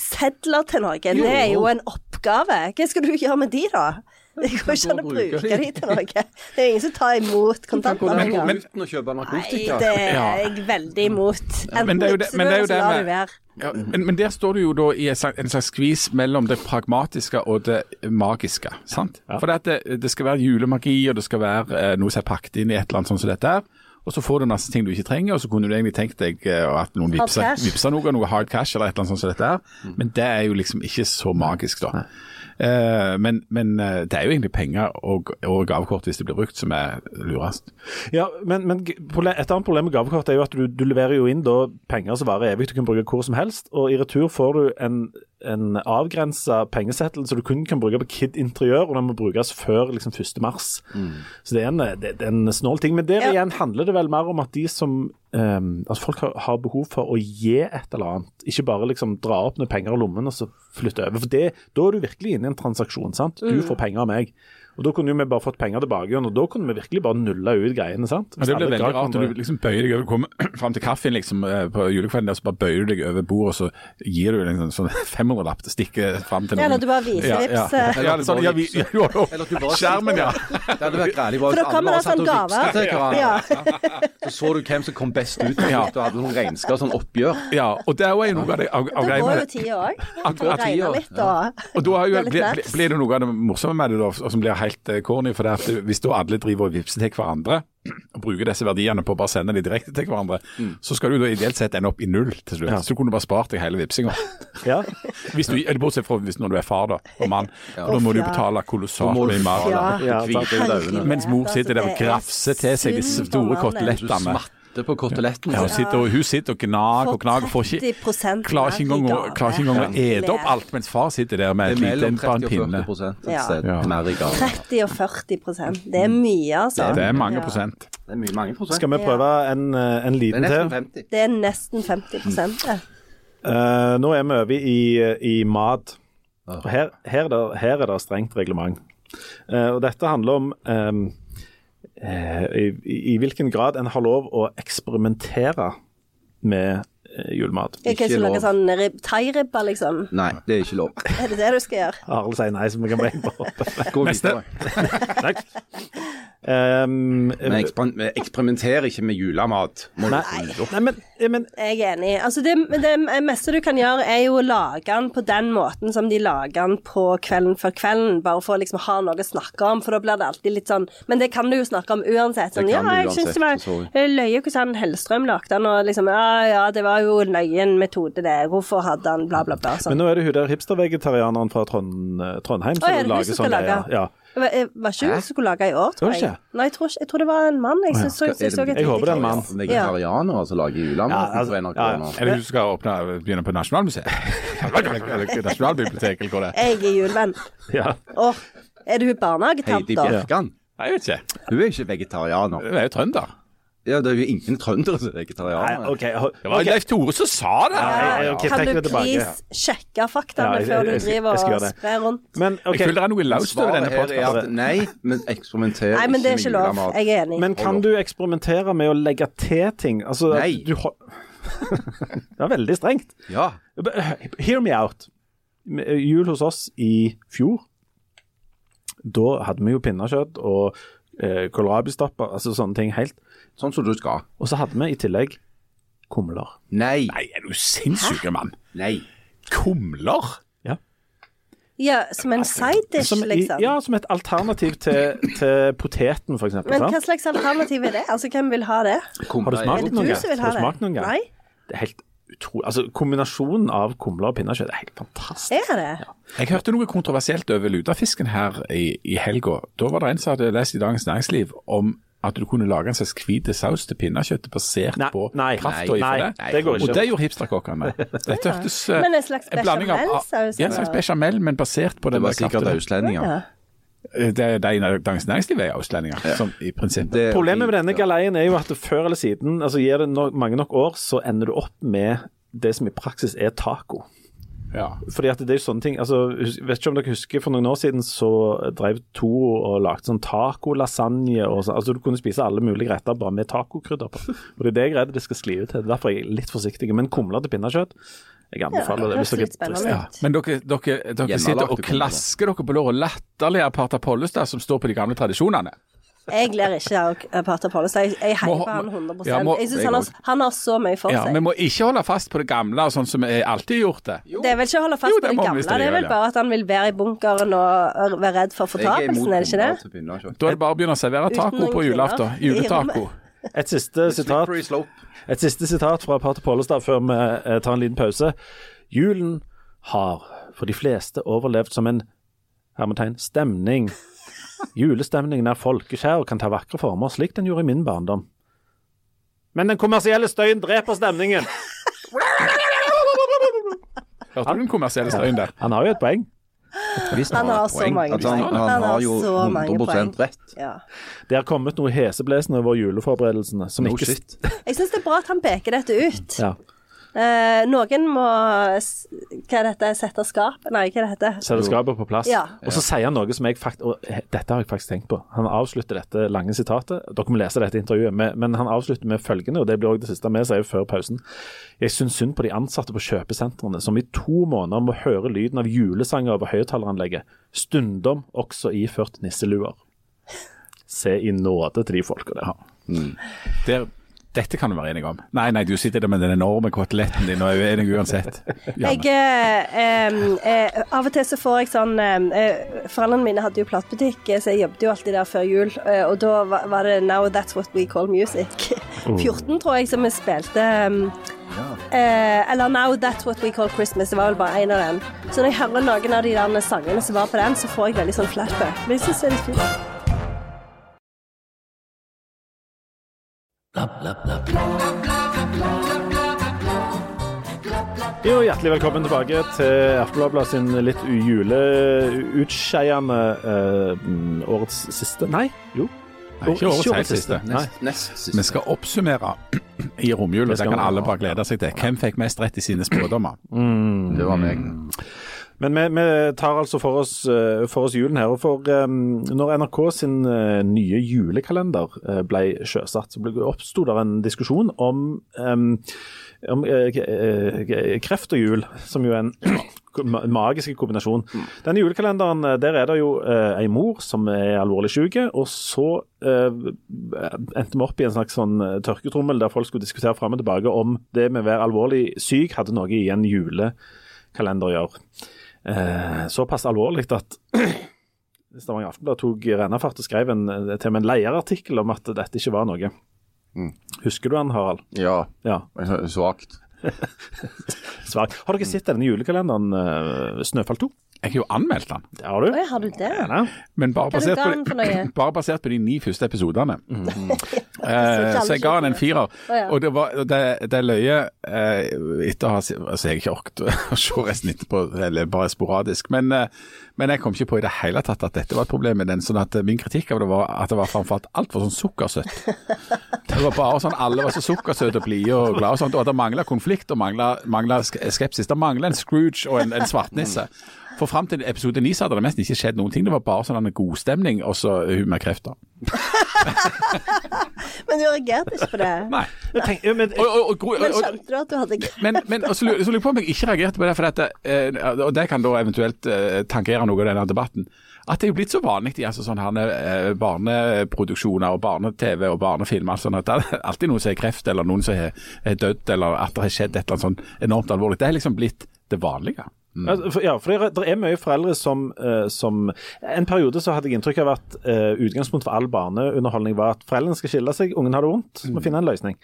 C: sedler til noen. Det er jo en oppgave. Hva skal du gjøre med de, da? Det går ikke an å
E: Du bruker
C: bruke de
E: de.
C: til noe. Det er ingen som tar imot kontanter.
E: Men,
C: lenger.
E: men, uten å kjøpe
C: Nei,
E: narkotika.
C: det
D: Ja.
C: er jeg veldig imot.
D: Ja,
C: Enten
D: men det er jo det-
C: vipser du,
D: men det er
C: eller
D: jo
C: så
D: det
C: lar
D: med-
C: du være.
D: Ja, men, men der står du jo da i en slags, en slags skvis mellom det pragmatiske og det magiske. sant? For det, at det, det skal være julemagi, og det skal være eh, noe som er pakket inn i et eller annet sånn som dette her. Og så får du masse ting du ikke trenger, og så kunne du egentlig tenkt deg eh, at noen
C: Hard
D: vipser,
C: cash.
D: vipser noe, noe hard cash eller et eller annet sånt som dette her. Men det er jo liksom ikke så magisk, da. Eh, men men eh, det er jo egentlig penger og, og gavekort hvis det blir brukt, som er lurest.
B: Ja, men, men g- proble- Et annet problem med gavekort er jo at du, du leverer jo inn da penger som varer evig, du kan bruke hvor som helst, og i retur får du en, en avgrensa pengeseddel som du kun kan bruke på Kid Interiør, og den må brukes før liksom 1. mars. Så det er en, det, det er en snål ting. Men der
C: Ja.
B: igjen handler det vel mer om at de som ehm, Altså folk har, har behov for å gi et eller annet, ikke bare liksom dra opp noen penger i lommen og så flytte over. For det, da er du virkelig inne i en transaksjon, sant. Du får penger av meg. Og Da kunne jo vi bare fått penger tilbake igjen, og da kunne vi virkelig bare nulla ut greiene. sant?
D: Men det blir
B: Alle
D: veldig
B: klart
D: rart
B: kommer-
D: når du liksom bøyer deg over, kommer fram til kaffen liksom, eh, på julekvelden, der, så bare bøyer du deg over bordet, og så gir du en sånn, sånn 500-lapp til stikker fram
C: Ja,
D: til noen.
C: eller du bare viser vips,
D: Ja,
C: eh.
D: ja. ja, det er sånn, ja, vi, ja, jo, jo.
E: Eller at du bare-
D: Skjermen, ja.
E: Det hadde vært greilig bare
C: For da
E: hvis
C: kommer
E: alle bare
C: det
E: satt
C: sånn
E: og vipsa
C: gave.
E: til hverandre.
C: Ja.
E: Så så du hvem som kom best ut.
D: Ja.
E: Du hadde noen regnskap, sånn oppgjør.
D: ja. Og det er jo noe av det av, av
C: Da
D: greiene.
C: går jo tida òg.
D: At-
C: Du
D: at tida,
C: regner litt og
D: Og da er jo,
C: Det er litt sånn
D: blir,
C: maks.
D: blir det noe av det morsomme med det, da, og som blir helt eh, corny. For det er at det- hvis da alle driver og vipser til hverandre, og bruker disse verdiene på å bare sende de direkte til hverandre,
E: Mm.
D: så skal du da ideelt sett ende opp i null til slutt. Så du kunne bare spart deg hele vipsinga.
B: Ja.
D: Hvis du- eller Bortsett fra hvis når du er far da, og mann. Da må du jo betale kolossalt
E: må du
D: mye mer. da.
C: Ja.
E: Du kviter i
C: Herregud.
E: laugene.
D: Mens mor sitter der og
C: Altså, det er
D: grafser til seg disse
C: synd på
D: store
C: mannen.
E: Du
D: kotelettene.
E: smatter på koteletten.
D: Ja, hun, sitter, og, hun sitter og gnager og gnager. Får ikke,
C: Får 30%
D: klarer ikke engang å,
C: mer i
D: klarer ikke engang å
C: gave.
D: ete opp alt, mens far sitter der med
E: Det
D: et
E: er
D: lite
E: mellom
D: en bare
E: 30
D: en
E: og
D: pinne.
E: 40 prosent et
C: Ja.
E: sted
D: Ja.
E: mer i gave.
C: 30 og 40 Det er mye, altså.
D: Det er mange
C: Ja.
D: prosent.
E: Det er mye mange prosent.
B: Skal vi prøve en, eh, en
E: det er
B: liten
E: nesten
B: til?
E: 50.
C: Det er nesten 50 det.
E: Hm.
B: Eh, nå er vi over i, i mat. Og her, her, er det- her er det strengt reglement. Eh, og dette handler om ehm, eh, i, i hvilken grad en har lov å eksperimentere med eh, julemat.
C: Jeg kan
E: Ikke
C: ikke lage
E: lov.
C: sånn rib- thairibbe, liksom.
E: Nei, det er ikke lov.
C: Er det det du skal gjøre?
B: Arild sier nei, så vi kan bare hoppe.
E: Gå
D: Neste.
E: videre.
B: Takk. Ehm,
E: Men eksper- Vi eksperimenterer ikke med julemat. Må du-
B: Nei, men, eh, men
C: Jeg er enig. Altså det, det meste du kan gjøre, er jo å lage den på den måten som de lager den på Kvelden før kvelden, bare for å liksom ha noe å snakke om, for da blir det alltid litt sånn Men det kan du jo snakke om uansett. Sånn,
E: Det
C: ja,
E: kan du
C: jeg syns det
E: uansett, for så vidt.
C: var eh, løye hvordan Hellstrøm lagde den, og liksom Ja, ja, det var jo løyen metode, det. Hvorfor hadde han bla, bla, bla.
B: Men
C: Sånn.
B: nå er det hun der hipstervegetarianeren fra Trond, eh, Trondheim som
C: Å, er det hun
B: lager
C: som
B: sånn
C: skal
B: greie.
C: lage?
B: Ja.
C: Det var- eh, var ikke hun som skulle lage i år, tror
B: Var det
C: jeg.
B: ikke?
C: Nei, jeg tror, ikke, jeg tror det var en mann. Jeg, synes, så,
E: Er
C: jeg, så, et
B: Jeg håper det er en
C: lite
B: mann.
C: klipp.
E: Vegetarianere som lager julemat
B: Ja, altså,
E: på NRK
B: ja, ja.
E: nå.
D: Er det hun som skal åpne, begynne på Nasjonalmuseet? Eller Nasjonalbiblioteket, eller hvor det er.
C: Jeg er julevenn.
B: Ja.
C: Åh, er det hun
E: Heidi
C: barnehagetanta?
E: Bjerkan.
D: Nei, Jeg vet ikke.
E: Hun er ikke vegetarianer.
D: Hun er jo trønder.
E: Ja, det er jo ingen trøndere som er
B: Nei,
E: vegetarianere.
B: OK. ho-
D: Ah. Det var
B: ok.
D: Leif Tore som sa det!
B: Nei, ok,
C: Kan
B: trekk
C: du
B: det tilbake.
C: please sjekke
B: Ja,
C: faktaene
B: jeg-
C: før
B: jeg-
C: du
B: jeg skal-
C: driver
B: jeg skal
C: og
B: gjøre det.
C: sprer rundt?
B: Men, ok,
D: Jeg føler det er noe laust over denne
E: Svaret her er at
D: podkasten.
E: nei, men eksperimenter
C: Nei, men det er ikke lov. Jeg er enig.
B: men kan du eksperimentere med å legge til ting? Altså, at
E: Nei.
B: Du ho- det er veldig strengt.
E: Ja.
B: But, uh, Hear me out. Med- uh, Jul hos oss i fjor, da hadde vi jo pinnekjøtt og eh, kålrabistapper, altså sånne ting helt.
E: Sånn som du skal.
B: Og så hadde vi i tillegg kumler.
E: Nei.
D: Nei, er du sinnssyk, mann?
E: Nei.
D: Kumler?
C: Ja, som en side dish,
B: Som, i-
C: liksom.
B: ja, som et alternativ til, til poteten, for eksempel.
C: Men
B: sant?
C: hva slags alternativ er det? Altså, hvem vil ha det?
B: Har du
C: Er det
B: smakt noen
C: du
B: gang?
C: som vil ha
B: Har du
C: det?
B: smakt noen gang?
C: Nei,
B: Det er helt utrolig. Altså, kombinasjonen av kumle og pinnekjøtt er helt fantastisk.
C: er det?
D: Jeg hørte noe kontroversielt over lutefisken her i, i helga. Da var det en som hadde lest i Dagens Næringsliv om at du kunne lage en slags hvit saus til pinnekjøttet basert
B: Nei,
D: på
B: nei,
D: krafta ifra
B: nei,
D: det.
B: nei, det går ikke.
D: Og det gjorde hipsterkokkene. Dette hørtes eh,
C: Men en slags
D: blanding av-
C: bechamelsaus,
D: Ja, en slags
C: eller?
D: bechamel, men basert på
E: Det
D: den
E: var
D: der kraften. Eh,
E: sikkert
C: Ja.
E: østlendinger.
D: Det er de i Dagens Næringsliv er østlendinger, som i prinsippet
E: Det-
B: Problemet med denne galeien er jo at før eller siden, altså gir det no mange nok år, så ender du opp med det som i praksis er taco.
D: ja.
B: Fordi at det er jo sånne ting altså, hus- Vet ikke om dere husker, for noen år siden så drev Toro og lagde sånn tacolasagne og sånn. Altså, du kunne spise alle mulige retter bare med tacokrydder på. Og det er det jeg er redd det skal skli ut til. Derfor er jeg litt forsiktig. Men kumler til pinnekjøtt, jeg anbefaler
C: Ja,
B: det. Hvis
C: det høres litt
B: dere
C: spennende
B: Ja.
D: Ja, Men dere, dere, dere sitter og
E: Hjemmelagte
D: klasker dere på låret latterlig av Parta Pollestad, som står på de gamle tradisjonene.
C: Jeg ler ikke av Pater Pollestad. Jeg, jeg heier
D: Må-
C: på han
D: må-
C: 100
D: ja, må-
C: Jeg synes
D: jeg
C: han,
D: også.
C: har- han har så mye for
D: Ja, Vi
C: seg.
D: må ikke holde fast på det gamle, og sånn som vi alltid har gjort det.
C: Det er vel ikke å holde fast
D: Jo, det
C: på det
D: må vi
C: gamle,
D: visst
C: det er
D: gjøre,
C: vel
D: ja.
C: bare at han vil være i bunkeren og og være redd for fortapelsen, er det ikke
E: altså.
C: det?
D: Da er det bare å begynne å servere
C: Uten
D: taco
C: noen
D: på julaften.
C: kvinner i
D: Juletaco.
C: rommet.
B: Et siste sitat
E: Slippery slope.
B: Et siste sitat fra Pater Pollestad før vi eh, tar en liten pause. Julen har for de fleste overlevd som en hermetegn, stemning. Julestemningen er folkeskjær og kan ta vakre former, slik den gjorde i min barndom. Men den kommersielle støyen dreper stemningen.
D: Hørte du den kommersielle støyen der?
B: Han har jo et poeng.
C: Han har så mange
E: Altså, han,
C: poeng.
E: han,
C: Han har
E: har jo
C: så mange
E: 100 rett.
C: Ja.
B: Det har kommet noe heseblesende over juleforberedelsene. Som
E: No
B: ikke
E: shit.
C: Jeg syns det er bra at han peker dette ut.
B: Ja.
C: Eh, noen må s- Hva er dette? Sette skap? Nei, hva er dette?
B: Setter skapet på plass.
C: Ja.
B: Og så sier han noe som jeg faktisk Og he- dette har jeg faktisk tenkt på. Han avslutter dette lange sitatet. Dere må lese dette intervjuet, med, men han avslutter med følgende, og det blir også det siste vi sier før pausen. Jeg syns synd på de ansatte på kjøpesentrene som i to måneder må høre lyden av julesanger over høyttaleranlegget, stundom også iført nisseluer. Se i nåde til de folka der.
D: Der, dette kan du være enig om. Nei, nei, du sitter der med den enorme koteletten din og er uenig uansett. Ja,
C: Jeg, eh, em, eh, av og til så får jeg sånn em, eh, Foreldrene mine hadde jo platebutikk, eh, så jeg jobbet jo alltid der før jul. eh, og da var, var det 'Now That's What We Call Music'. 14, tror jeg, som vi spilte. em, eh, eller 'Now That's What We Call Christmas'. Det var vel bare én av dem. Så når jeg hører noen av de der sangene som var på den, så får jeg veldig sånn flashback. Men jeg synes det er litt fint.
B: Jo, hjertelig velkommen tilbake til Aftenbladet sin litt juleutskeende eh, årets siste Nei, jo.
D: Nei, ikke årets helt siste.
B: Nei.
E: Nest, nest
D: Vi
E: siste.
D: skal oppsummere i romjula,
B: Det
D: det
B: skal vi.
D: kan alle bare glede seg til. Hvem fikk mest rett i sine spådommer?
E: Det var meg.
B: Men vi, vi tar altså for oss, eh, for oss julen her. Og for eh, når NRK sin eh, nye julekalender eh, ble sjøsatt, så ble- oppsto der en diskusjon om, eh, om eh, k- eh, k- kreft og jul, som jo er en ma- magisk kombinasjon. Denne julekalenderen, eh, der er det jo eh, ei mor som er alvorlig syk, og så eh, endte vi opp i en slags sånn eh, tørketrommel der folk skulle diskutere fram og tilbake om det med å være alvorlig syk hadde noe i en julekalender å gjøre eh, såpass alvorlig at Stavanger Aftenblad tok rennafart og skrev en, eh, til og med en leierartikkel om at dette ikke var noe. Husker du han, Harald?
E: Ja,
B: Ja.
E: svakt.
B: Svak. Har dere sett denne julekalenderen eh, Snøfall 2?
D: Jeg har jo anmeldt den.
B: Det har du?
C: Oi, har du det?
B: Ja.
D: Men bare
C: Hva er det
D: basert,
C: den
D: på
C: for
D: de,
C: noe?
D: bare basert på de ni første episodene.
C: alle
D: Eh, så jeg ga han en
C: skjønner.
D: firer.
C: ja.
D: Og det, var, det, det løye eh, etter å ha se- Altså, jeg har ikke orket å se resten etterpå, eller bare sporadisk. Men, eh, men jeg kom ikke på i det hele tatt at dette var et problem med den. sånn at eh, Min kritikk av det var at det var framfor alt altfor sånn sukkersøtt. Det var bare sånn alle var så sukkersøte og blide og glade og sånt. Og det mangla konflikt og mangla skepsis. Det mangla en Scrooge og en, en svartnisse.
C: Mm.
D: For fram til episode 9 så hadde det nesten ikke skjedd noen ting. Det var bare sånn en godstemning og så hun med krefter.
C: Men du reagerte ikke på det?
D: Nei.
B: Jeg tenk, ja, men,
D: Og, og, og, og,
C: Men
D: og,
C: skjønte du at du hadde kreft?
D: men, men og så lurer så lurer jeg på om jeg ikke reagerte på det, for dette, eh, og det kan da eventuelt eh, tankere noe av denne debatten, at det er jo blitt så vanlig i altså, sånne her, eh, barneproduksjoner og barne-TV og barnefilmer, sånn at det er alltid noen som har kreft, eller noen som har- er dødd, eller at det har skjedd et eller annet sånn enormt alvorlig. Det har liksom blitt det vanlige.
B: Altså, for- Ja, for det er- det er mye foreldre som, eh, som En periode så hadde jeg inntrykk av at eh, utgangspunkt for all barneunderholdning var at foreldrene skal skille seg, ungen har det vondt, må finne en løsning.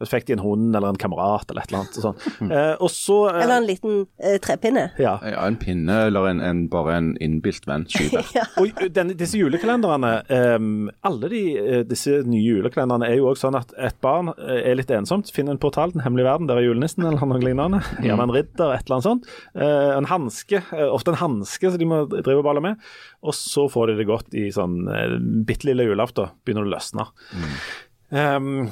B: Så fikk de en hund eller en kamerat eller et eller annet. Og, sånn. Eh, og så eh,
C: Eller en liten eh, trepinne.
B: ja.
E: Ja, en pinne eller en, en, bare en innbilt venn. Skybert.
B: Og eh, denne, disse julekalenderne, em, alle de, eh, disse nye julekalenderne er jo også sånn at et barn eh, er litt ensomt, finner en portal, den hemmelige verden, der er julenissen eller noe lignende. Gjerne en ridder, et eller annet sånt. Eh, en hanske, eh, ofte en hanske som de må drive og balle med. Og så får de det godt i sånn eh, bitte lille julaften, begynner det å løsne.
E: Mm.
B: Em,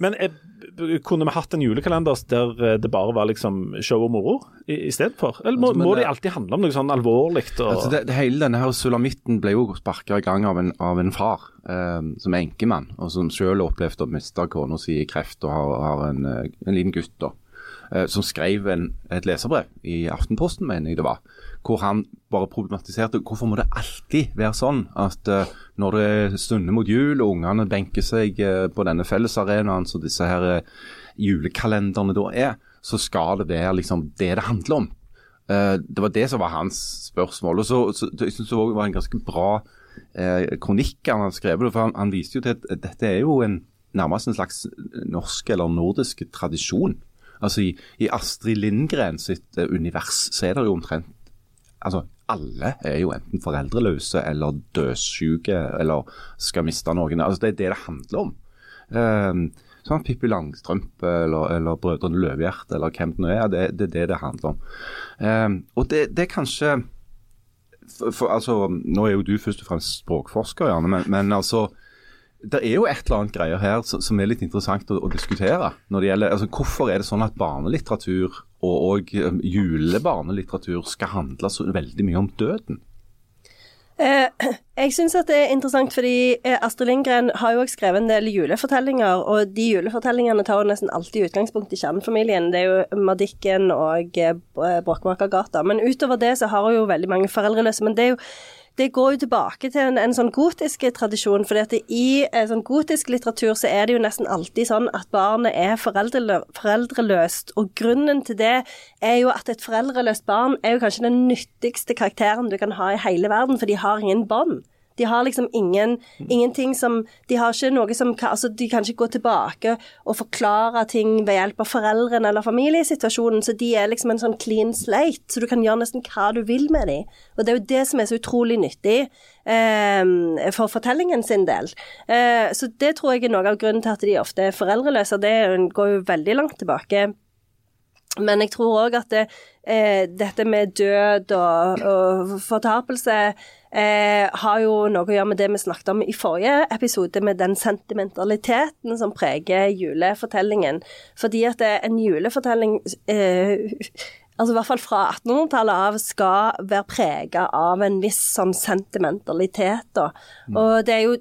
B: men eh, b- kunne vi hatt en julekalender der eh, det bare var liksom show og moro i- istedenfor? Eller må,
E: Altså, men
B: må
E: det-
B: det alltid handle om noe sånn alvorlig? Og...
E: Altså, det, det hele denne her sulamitten ble jo sparka i gang av en, av en far eh, som er enkemann, og som sjøl opplevde å miste kona si i kreft og har, har en, eh, en liten gutt, da. eh, som skrev en, et leserbrev i Aftenposten, mener jeg det var, hvor han bare problematiserte hvorfor må det alltid være sånn at eh, når det stunder mot jul og ungene benker seg eh, på denne fellesarenaen som disse her eh, julekalenderne da er, så skal det være liksom det det handler om. Eh, det var det som var hans spørsmål. og så, så Jeg syns det også var en ganske bra eh, kronikk han hadde skrevet. for han, han viste jo til at dette er jo en, nærmest en slags norsk eller nordisk tradisjon. Altså I, i Astrid Lindgren sitt eh, univers så er det jo omtrent altså alle er jo enten foreldreløse eller dødssyke eller skal miste noen. altså Det er det det handler om. Ehm, sånn Pippi Langstrømpe eller, eller Brødrene Løvehjerte eller hvem det nå er. Det, det er det det handler om. Ehm, og det, det er kanskje for, for, altså, Nå er jo du først og fremst språkforsker, Janne, men, men altså det er jo et eller annet greier her som, som er litt interessant å, å diskutere. når det gjelder, altså Hvorfor er det sånn at barnelitteratur og, og um, julebarnelitteratur skal handle så veldig mye om døden?
C: Eh, jeg syns at det er interessant, fordi eh, Astrid Lindgren har jo også skrevet en del julefortellinger, og de julefortellingene tar jo nesten alltid utgangspunkt i kjernefamilien. Det er jo Madikken og eh, Bråkmakergata. Men utover det så har hun jo veldig mange foreldreløse. Men det er jo det går jo tilbake til en, en sånn gotisk tradisjon, fordi at det, i eh, sånn gotisk litteratur så er det jo nesten alltid sånn at barnet er foreldrelø foreldreløst, og grunnen til det er jo at et foreldreløst barn er jo kanskje den nyttigste karakteren du kan ha i hele verden, for de har ingen bånd. De har liksom ingen, ingenting som De har ikke noe som ka- Altså, de kan ikke gå tilbake og forklare ting ved hjelp av foreldrene eller familiesituasjonen, så de er liksom en sånn clean slate, så du kan gjøre nesten hva du vil med dem. Og det er jo det som er så utrolig nyttig eh, for fortellingen sin del. Eh, så det tror jeg er noe av grunnen til at de ofte er foreldreløse. Det er jo- går jo veldig langt tilbake. Men jeg tror òg at det, eh, dette med død og, og fortapelse eh, har jo noe å gjøre med det vi snakket om i forrige episode, med den sentimentaliteten som preger julefortellingen. Fordi at det, en julefortelling eh, altså i hvert fall fra 1800-tallet av, skal være prega av en viss sånn sentimentalitet. Da. Og det er jo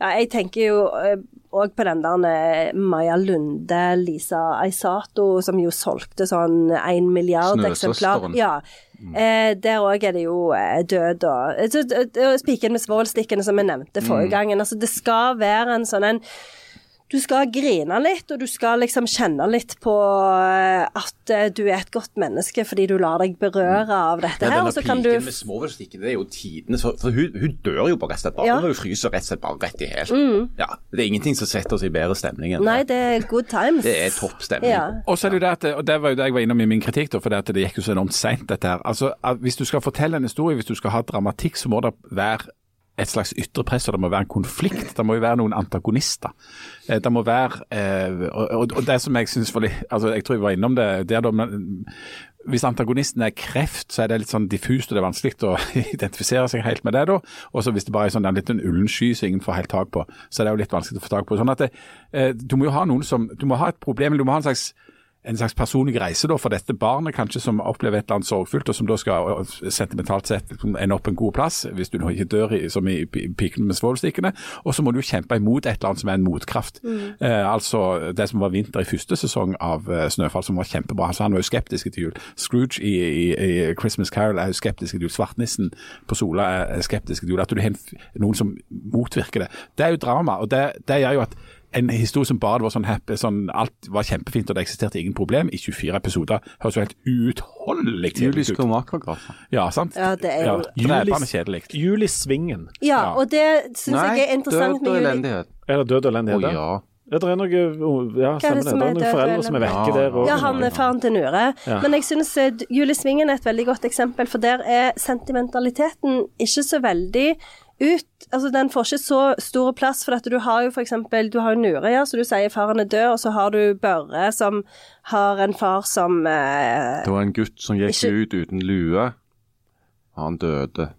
C: ja, jeg tenker jo òg på den der eh, Maja Lunde, Lisa Aisato, som jo solgte sånn én milliard eksemplar.
E: Snøsøsteren. Mm.
C: Ja. Eh, der òg er det jo eh, død og eh, så- eh, Spiken med svovelstikkene, som vi nevnte
E: Mm.
C: forrige gangen. Altså, det skal være en sånn en du skal grine litt, og du skal liksom kjenne litt på eh, at eh, du er et godt menneske fordi du lar deg
E: Mm.
C: berøre av dette her, og så kan du
E: med svovelstikken, det er jo tidenes For, for hun, hun dør jo bare rett og slett bare.
C: Ja. Mm.
E: Hun fryser rett og slett bare rett i hæl. Ja, det er ingenting som setter oss i bedre stemning enn
C: Nei,
E: det.
C: det er good times.
E: Det er topp stemning.
C: Ja.
D: Og så er det jo det at, og det var jo det jeg var innom i min kritikk, da, for det, at det gikk jo så enormt seint, dette her. Altså, at Hvis du skal fortelle en historie, hvis du skal ha dramatikk, så må det være et slags ytre press, og det må være en konflikt. Det må jo være noen antagonister. Eh, Det må være eh, og- og, og det som jeg syns var litt altså, Jeg tror jeg var innom det der, da. Men hvis antagonisten er kreft, så er det litt sånn diffust, og det er vanskelig å identifisere seg helt med det da. Og så hvis det bare er sånn en liten ullen sky som ingen får helt tak på, så er det jo litt vanskelig å få tak på. Sånn at det, eh, du må jo ha noen som Du må ha et problem, eller du må ha en slags en slags personlig reise da, for dette barnet kanskje som opplever et eller annet sorgfullt, og som da skal og- og sentimentalt sett liksom ende opp en god plass, hvis du nå ikke dør i, som i pi- pikene med svovelstikkene. Og så må du kjempe imot et eller annet som er en motkraft.
C: Mm.
D: Eh, altså det som var vinter i første sesong av eh, Snøfall, som var kjempebra. Altså, han var jo skeptisk til jul. Scrooge i, i, i Christmas Carol er jo skeptisk til jul. Svartnissen på Sola er skeptisk til jul. At du har en f- noen som motvirker det. Det er jo drama, og det, det gjør jo at en historie som bare var sånn happy, sånn alt var kjempefint og det eksisterte ingen problem i 24 episoder, høres jo helt uutholdelig kjedelig
E: Julius
D: ut.
E: Klomakragrafen.
D: Ja, sant?
C: Ja, det er jo-
D: Drepende kjedelig.
B: Juli Svingen.
C: Ja, og det syns jeg er interessant
E: død og
C: med juli.
E: elendighet.
B: Er det død og
E: Å
B: elendighet? der?
E: ja.
B: Ja, Det er noe Ja,
C: Hva er
B: stemmer
C: det
B: det.
C: som
B: Det
C: er
B: er
C: død
B: noen
C: og
B: foreldre som er
E: elendighet?
B: vekke der
E: Ja,
C: Ja,
B: òg.
C: han er faren til Nure. Men jeg syns eh, Julie Svingen er et veldig godt eksempel, for der er sentimentaliteten ikke så veldig ut. Altså, den får ikke så stor plass, for at du har jo for eksempel, du har jo Nure, ja, så du sier faren er død, og så har du Børre som har en far som eh,
E: Det var en gutt som gikk
C: Ikke-
E: ut uten lue. Han døde.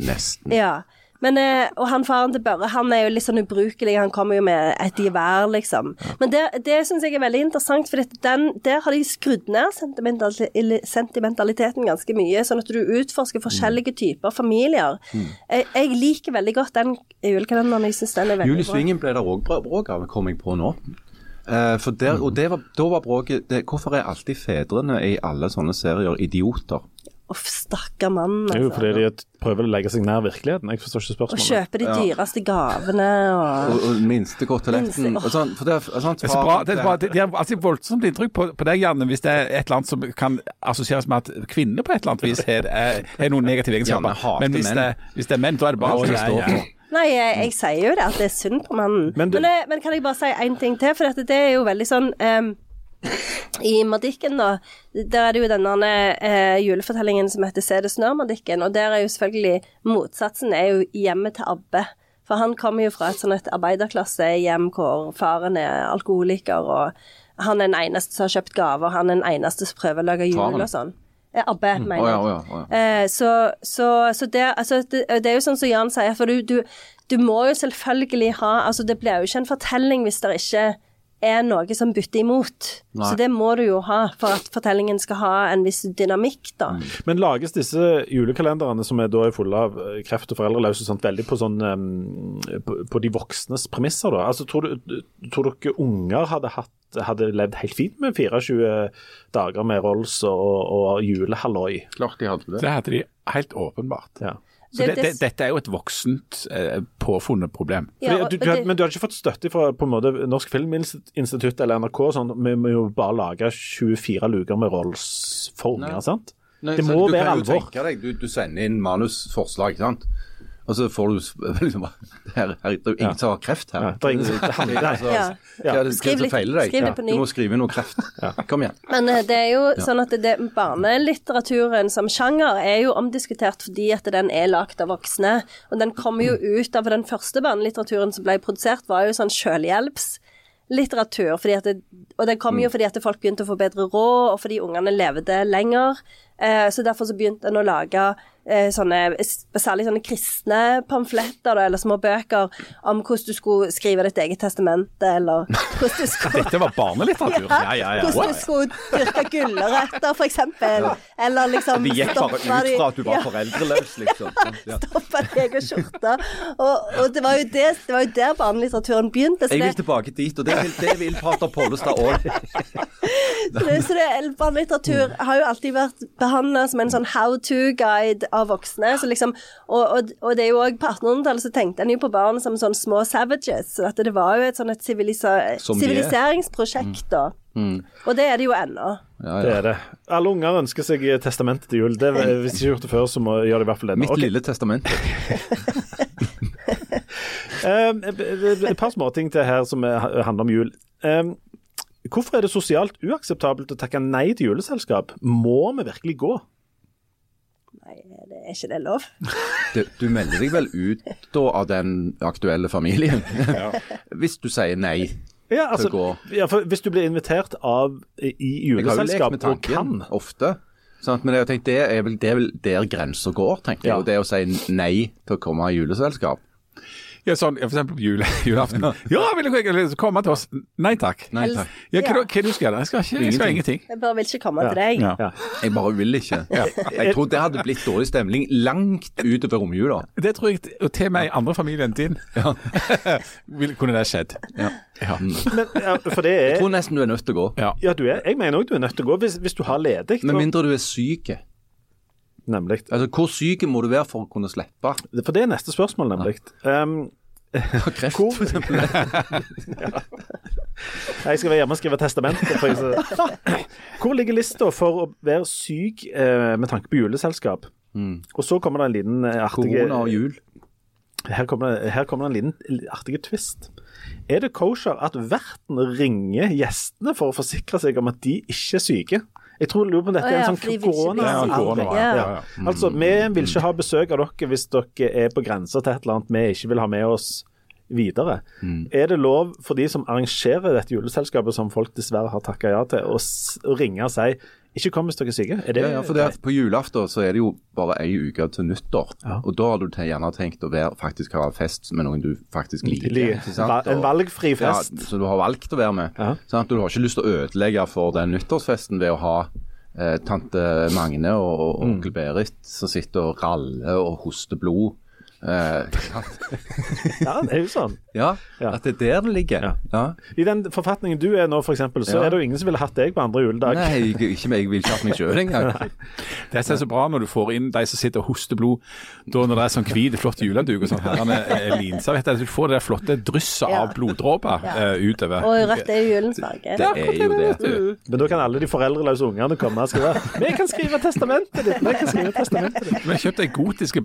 E: Nesten.
C: Ja. Men, eh, og han faren til Børre han er jo litt sånn ubrukelig, han kommer jo med et gevær, liksom. Men det, det syns jeg er veldig interessant, for den, der har de skrudd ned sentimentali- ili- sentimentaliteten ganske mye, sånn at du utforsker
B: Mm.
C: forskjellige typer familier. Jeg, jeg liker veldig godt den julekalenderen, jeg syns den er veldig
E: Juli
C: bra.
E: Svingen ble det òg bråk av, kom jeg på nå. Eh, for der, og det var, da var bråket det, Hvorfor er alltid fedrene i alle sånne serier idioter?
C: Uff, stakkar mann,
B: Det er jo
C: altså.
B: fordi de prøver å legge seg nær virkeligheten. Jeg forstår ikke
C: Og
B: spørsmålet.
C: kjøpe de dyreste gavene og
E: Og, og minste koteletten.
C: Minste-
E: og sånn, for det er, sånn,
D: Det er så bra. Det er bra. Det, det er altså voldsomt inntrykk på, på deg, Janne, hvis det er et eller annet som kan assosieres med at kvinner på et eller annet vis har, er, har noen negative
E: Janne
D: egenskaper.
E: hater
D: Men hvis
E: menn.
D: det, hvis det er menn, da er det bare
E: Hva
D: å
E: skal jeg stå
D: stå
E: for?
D: for.
C: Nei, jeg, jeg sier jo det, at det er synd på mannen.
B: Men
C: Men,
B: du-
C: eh, men kan jeg bare si én ting til? For dette, det er jo veldig sånn ehm, I Madikken, da, der er det jo denne eh, julefortellingen som heter Se det snør, Madikken. Og der er jo selvfølgelig motsatsen er jo hjemmet til Abbe. For han kommer jo fra et sånn et arbeiderklassehjem hvor faren er alkoholiker, og han er den eneste som har kjøpt gaver, han er den eneste som prøver å lage jul
E: Faren? Mm.
C: og sånn. Eh, Abbe, mener jeg.
E: Å ja, å ja, å ja.
C: Eh, så så, så det, altså, det, det er jo sånn som Jan sier, for du, du, du må jo selvfølgelig ha Altså, det blir jo ikke en fortelling hvis det ikke er noe som butter imot.
E: Nei.
C: Så det må du jo ha for at fortellingen skal ha en viss dynamikk, da.
B: Men lages disse julekalenderne, som er da er fulle av eh, kreft og foreldreløse, og sånt, veldig på, sånn, em, på, på de voksnes premisser? da? Altså, Tror, du, tror dere unger hadde, hatt, hadde levd helt fint med 24 dager med Rolls og, og julehalloi?
E: Klart de hadde det.
D: Det hadde de helt åpenbart.
B: Ja.
D: Så det,
C: Det-
D: det, dette er jo et voksent eh, påfunnet problem.
C: Ja,
B: Fordi,
C: og-
B: du, du,
C: og
B: hadde-
C: det-
B: men du hadde ikke fått støtte fra på en måte, Norsk Filminstitutt eller NRK? sånn, Vi må jo bare lage 24 luker med Rolls for unger, sant?
E: Nei,
B: det
E: så
B: må
E: du
B: være
E: kan jo
B: alvor.
E: tenke Deg, du, du sender inn manusforslag, ikke sant. Og så får du s- liksom det her, her, Det er jo ingen som har kreft her.
B: Ja, det er ingen som- det handler- nei.
E: Altså,
C: Ja.
E: hva er det- hva er
C: Skriv
E: det
C: litt-
E: som feiler deg?
C: skriv litt på ny.
E: Du må skrive noe kreft. Kom igjen.
C: Men eh, det er jo sånn at det, barnelitteraturen som sjanger er jo omdiskutert fordi at den er lagd av voksne. Og den kommer jo ut av den første barnelitteraturen som ble produsert, var jo sånn selvhjelpslitteratur. Fordi at det, og den kom
E: Mm.
C: jo fordi at folk begynte å få bedre råd, og fordi ungene levde lenger. Eh, så derfor så begynte en å lage eh, sånne, s- særlig sånne kristne pamfletter da, eller små bøker om hvordan du skulle skrive ditt eget testamente, eller hvordan du skulle
D: Dette var barnelitteratur. Ja, ja, ja.
C: hvordan du skulle dyrke gulrøtter, for eksempel. Eller liksom
E: Vi gikk bare ut
C: stoppa de-
E: fra at du var
C: Ja,
E: foreldreløs, liksom. Ja.
C: stoppa de egen skjorte. Og, og det var jo det, det var jo der barnelitteraturen begynte. Så
E: Jeg vil
C: det,
E: tilbake dit, og det vil, det vil Pater Pollestad òg.
C: så det, så det barnelitteratur har jo alltid vært behandla som en sånn how to-guide av voksne. Så liksom, og, og, og det er jo òg på 1800-tallet så tenkte en jo på barn som sånn små savages. Så at det var jo et sånn et sivilisa-
E: Som de er.
C: siviliseringsprosjekt, da. Og det er det jo ennå.
B: Det er det. Alle unger ønsker seg testamentet til jul. Det, hvis de ikke har gjort det før, så må, gjør de i hvert fall det. nå.
E: Mitt
B: Ok,
E: lille testament.
B: eh, Et par småting til her som eh, handler om jul. Eh, Hvorfor er det sosialt uakseptabelt å takke nei til juleselskap? Må vi virkelig gå?
C: Nei, det er ikke det lov?
E: Du, du melder deg vel ut da av den aktuelle familien? Hvis du sier nei.
B: Ja, altså,
E: Til å
B: ja, for hvis du blir invitert av i
E: Jeg har jo lekt
B: juleselskap
E: med
B: og kan
E: tanken ofte. Sant? Men jeg har tenkt, det er vel, det er vel der grensa går, tenker jeg.
B: Ja.
E: Og det å si nei til å komme i juleselskap.
D: Ja, sånn, ja, for eksempel på jule, julaften. Ja, vil du ikke liksom komme til oss? Nei takk.
E: Nei takk.
D: Ja,
C: Ja.
D: hva, hva du skal gjøre? Jeg skal ikke, jeg skal ingenting.
C: Jeg bare vil ikke komme til deg.
D: Ja.
E: Jeg bare vil ikke. Jeg tror det hadde blitt dårlig stemning langt utover romjula.
D: Det tror jeg, og til og med i andre familie enn din, vil, kunne det skjedd.
E: Ja.
D: Ja.
B: men, ja, For det
E: Jeg
B: er
E: tror nesten du er nødt til å gå.
D: Ja.
B: Ja, du er, jeg mener òg du er nødt til å gå hvis, hvis du har ledig.
E: Med
B: og-
E: mindre du er syk.
B: Nemlig.
E: Altså, hvor syk må du være for å kunne slippe?
B: For det er neste spørsmål, nemlig. Um,
E: Har kreft,
B: Hvor-
E: for eksempel.
B: Jeg skal være hjemme og skrive testamentet. For jeg så... Hvor ligger lista for å være syk eh, med tanke på juleselskap? Og så kommer det en liten eh, artig
E: Mm. Korona og jul.
B: her kommer, det, her kommer det en liten artig twist. Er det kosher at verten ringer gjestene for å forsikre seg om at de ikke er syke? Jeg tror jeg lurer på om dette
C: Å
B: er
C: ja,
B: en sånn
C: for de vil ikke bli
B: korona...
C: syke. Ja,
D: korona,
C: ja,
B: Ja.
D: ja, ja. Mm,
B: Altså, vi vil ikke ha besøk av dere hvis dere er på grensa til et eller annet vi ikke vil ha med oss videre.
E: Mm.
B: Er det lov for de som arrangerer dette juleselskapet, som folk dessverre har takka ja til, å s- å ringe og si ikke kom hvis dere er syke? Er det,
E: Ja, ja, for det at Eh, på julaften så er det jo bare ei uke til nyttår. Og da har du te- gjerne tenkt å være, faktisk ha fest med noen du faktisk liker.
B: Li-
E: ikke sant?
B: va- en
E: Og-
B: valgfri fest.
E: Ja, så du har valgt å være med.
B: Ja.
E: Sant? Du har ikke lyst til å ødelegge for den nyttårsfesten ved å ha eh, tante Magne og, og onkel Berit som sitter og raller og hoster blod. Eh, sant?
B: ja, det er jo sånn.
E: ja,
B: Ja.
E: at det er der det ligger.
B: Ja.
E: Ja.
B: I den forfatningen du er nå, for eksempel, så
E: Ja.
B: er det jo ingen som ville hatt deg på andre juledag.
E: Nei, ikke, ikke meg. Jeg vil ikke ha meg sjøl engang.
D: Det som er så bra når du får inn de som sitter og hoster blod, da når det er sånn hvit, flott juleduk og sånn herrene eh, linser, vet du, at du får det der flotte drysset
C: Ja.
D: av bloddråper eh, utover.
C: Og rødt er jo julens farge.
E: Det er jo det. vet du.
B: Men da kan alle de foreldreløse ungene komme og skrive Vi kan skrive testamentet ditt! Vi kan skrive testamentet ditt.
D: Vi har kjøpt en eh, gotiske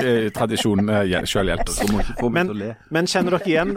D: barnebok-tradisjon sjøl hjelper.
E: Du må ikke få meg
B: Men,
E: til å le.
B: men kjenner, dere igjen,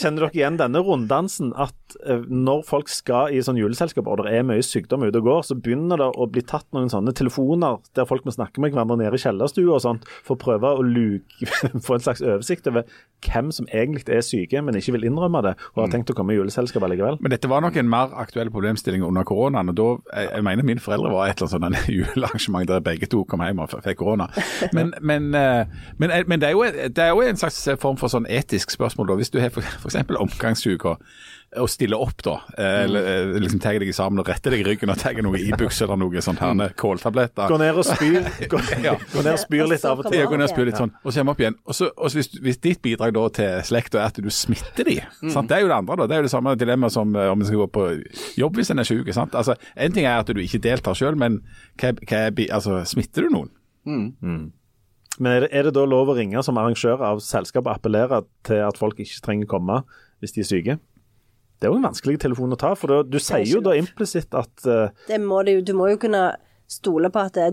B: kjenner dere igjen denne runddansen at eh, når folk skal i sånn juleselskap og det er mye sykdom ute og går, så begynner det å bli tatt noen sånne telefoner der folk må snakke med hverandre nede i kjellerstua og sånt, for å prøve å luke, få en slags oversikt over hvem som egentlig er syke, men ikke vil innrømme det,
E: Mm.
B: og har tenkt å komme i juleselskap allikevel.
D: Men dette var nok en mer aktuell problemstilling under koronaen. og da, jeg, jeg mener mine foreldre var et eller annet sånn en julearrangement der begge to kom hjem og f- fikk korona. Men, men, eh, men, eh, men det, er jo, det er jo en slags form for sånn etisk spørsmål. da, Hvis du har for- for eksempel omgangssyk og, og stiller opp, da. eh, Eller eh, liksom tar deg sammen og retter deg i ryggen og tar noe Ibux eller noe sånt her, med kåltabletter.
B: Gå ned og spyr, gå,
D: Ja.
B: gå ned og spyr litt av og til.
D: Ja, gå ned og spyr litt sånn, og så kommer opp igjen. Og så, og så hvis, hvis ditt bidrag da til slekta er at du smitter de,
C: Mm.
D: sant? det er jo det andre da. Det er jo det samme dilemmaet som eh, om en skal gå på jobb hvis en er syk. Sant? Altså, en ting er at du ikke deltar sjøl, men hva, hva er, bi- altså, smitter du noen?
B: Men er det, er det da lov å ringe som arrangør av selskap og appellere til at folk ikke trenger komme hvis de er syke? Det er jo en vanskelig telefon å ta, for da, du sier jo
C: ikke
B: da
C: lov.
B: implisitt at eh,
C: Det må du, jo- du må jo kunne stole på at det,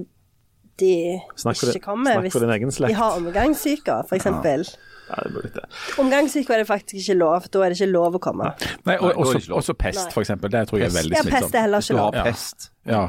C: de
B: Snakk for
C: ikke
B: din-
C: kommer
B: snakk
C: hvis
B: for din egen slekt.
C: de har omgangssyke, for eksempel.
B: ja, det blir litt det.
C: Omgangssyke er det faktisk ikke lov, da er det ikke lov å komme.
D: Nei, og,
E: Nei, da er det
D: også,
E: ikke lov.
D: også pest,
C: Nei.
D: for eksempel. Det tror jeg er veldig
C: Ja,
D: smittsomt.
C: pest er heller ikke
E: Du har
C: lov.
E: pest.
D: Ja.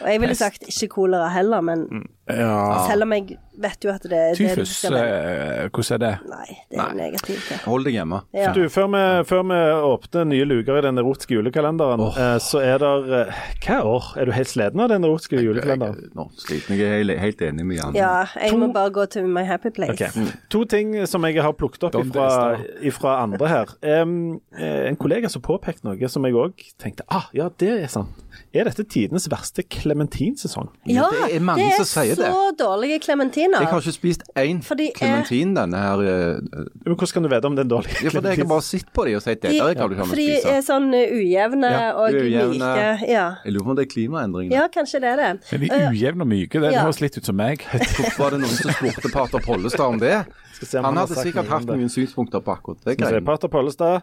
C: Og jeg ville
D: Pest.
C: sagt ikke kolera heller,
E: Mm.
C: men
D: ja.
E: Ah.
C: selv om jeg vet jo at det er det du
D: Tyfus,
C: skal velge.
D: eh, hvordan er det?
C: Nei, det er negativt. Ja.
E: Hold deg hjemme.
C: Ja.
B: Du, før vi, før vi åpner nye luker i den erotiske julekalenderen, eh, så er det Hva år? Er du helt sliten av den erotiske julekalenderen?
E: Jeg- Nå sliten jeg. Jeg er helt enig med Jan.
C: ja, jeg må bare gå til My Happy Place.
B: Ok.
E: Mm.
B: To ting som jeg har plukket opp
D: Don't
B: ifra,
D: test,
B: ifra andre her. Em, eh, en kollega som påpekte noe som jeg òg tenkte ah, ja, det er sant. Er dette tidenes verste clementinsesong?
C: Ja,
E: Det er mange som sier det.
C: så dårlige klementiner.
E: Jeg har ikke spist én
C: Fordi eh, jeg-
E: klementin denne her eh,
B: Men Hvordan kan du vite om det er en dårlig
E: Ja, for jeg har
B: clementin?
E: bare sett på de og sagt det. Der kan du ikke ha med
C: Fordi
E: å
C: de er
E: spise.
C: sånn uh, ujevne
E: Ja,
C: og
E: ujevne.
C: myke. Ja.
E: Jeg lurer på om det er klimaendringene.
C: ja, kanskje det er det.
D: Men de er ujevne og myke, det
C: Eh, Ja.
D: høres litt ut som meg.
E: Hvorfor var det noen som spurte pater Pollestad om det?
B: Skal se om
E: Han
B: han har
E: hadde
B: sagt
E: sikkert
B: noe om
E: hatt
B: det.
E: noen synspunkter på akkurat det.
B: Så er
E: greiene.
B: Pater Pollestad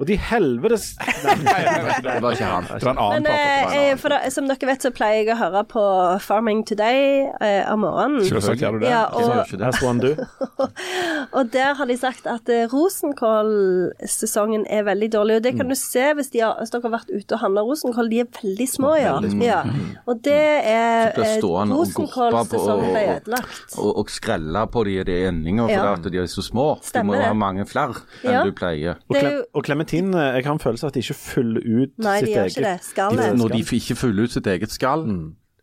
B: Og de helvetes
E: Det var ikke han.
D: Det var en annen
C: Men eh,
D: pater.
C: eh, for da, som dere vet, så pleier jeg å høre på Farming Today eh, om morgenen.
D: Selvsagt gjør du det.
C: Ja,
E: Jeg sa jo
C: og,
E: ikke det.
B: As one do.
C: og der har de sagt at eh, rosenkålsesongen er veldig dårlig. Og det kan du se hvis, de har, hvis dere har vært ute og handla rosenkål. De er veldig små, ja. ja. Og det er
E: Så blir
C: eh,
E: stående og gulpe på-
C: Rosenkålsesongen ble ødelagt.
E: Og, og skrelle på de, de endingene, for
C: Ja.
E: at de er så små. Du
C: Stemmer
E: må jo ha
C: det.
E: mange flere
C: Ja.
E: enn du pleier.
B: Og,
C: Det er
B: klem,
C: jo-
B: og clementin, eh, jeg har en følelse av at de ikke fyller ut
C: Nei, de
B: sitt
C: gjør ikke det.
B: eget
C: Skal det?
E: De- Når de ikke fyller ut sitt eget skall,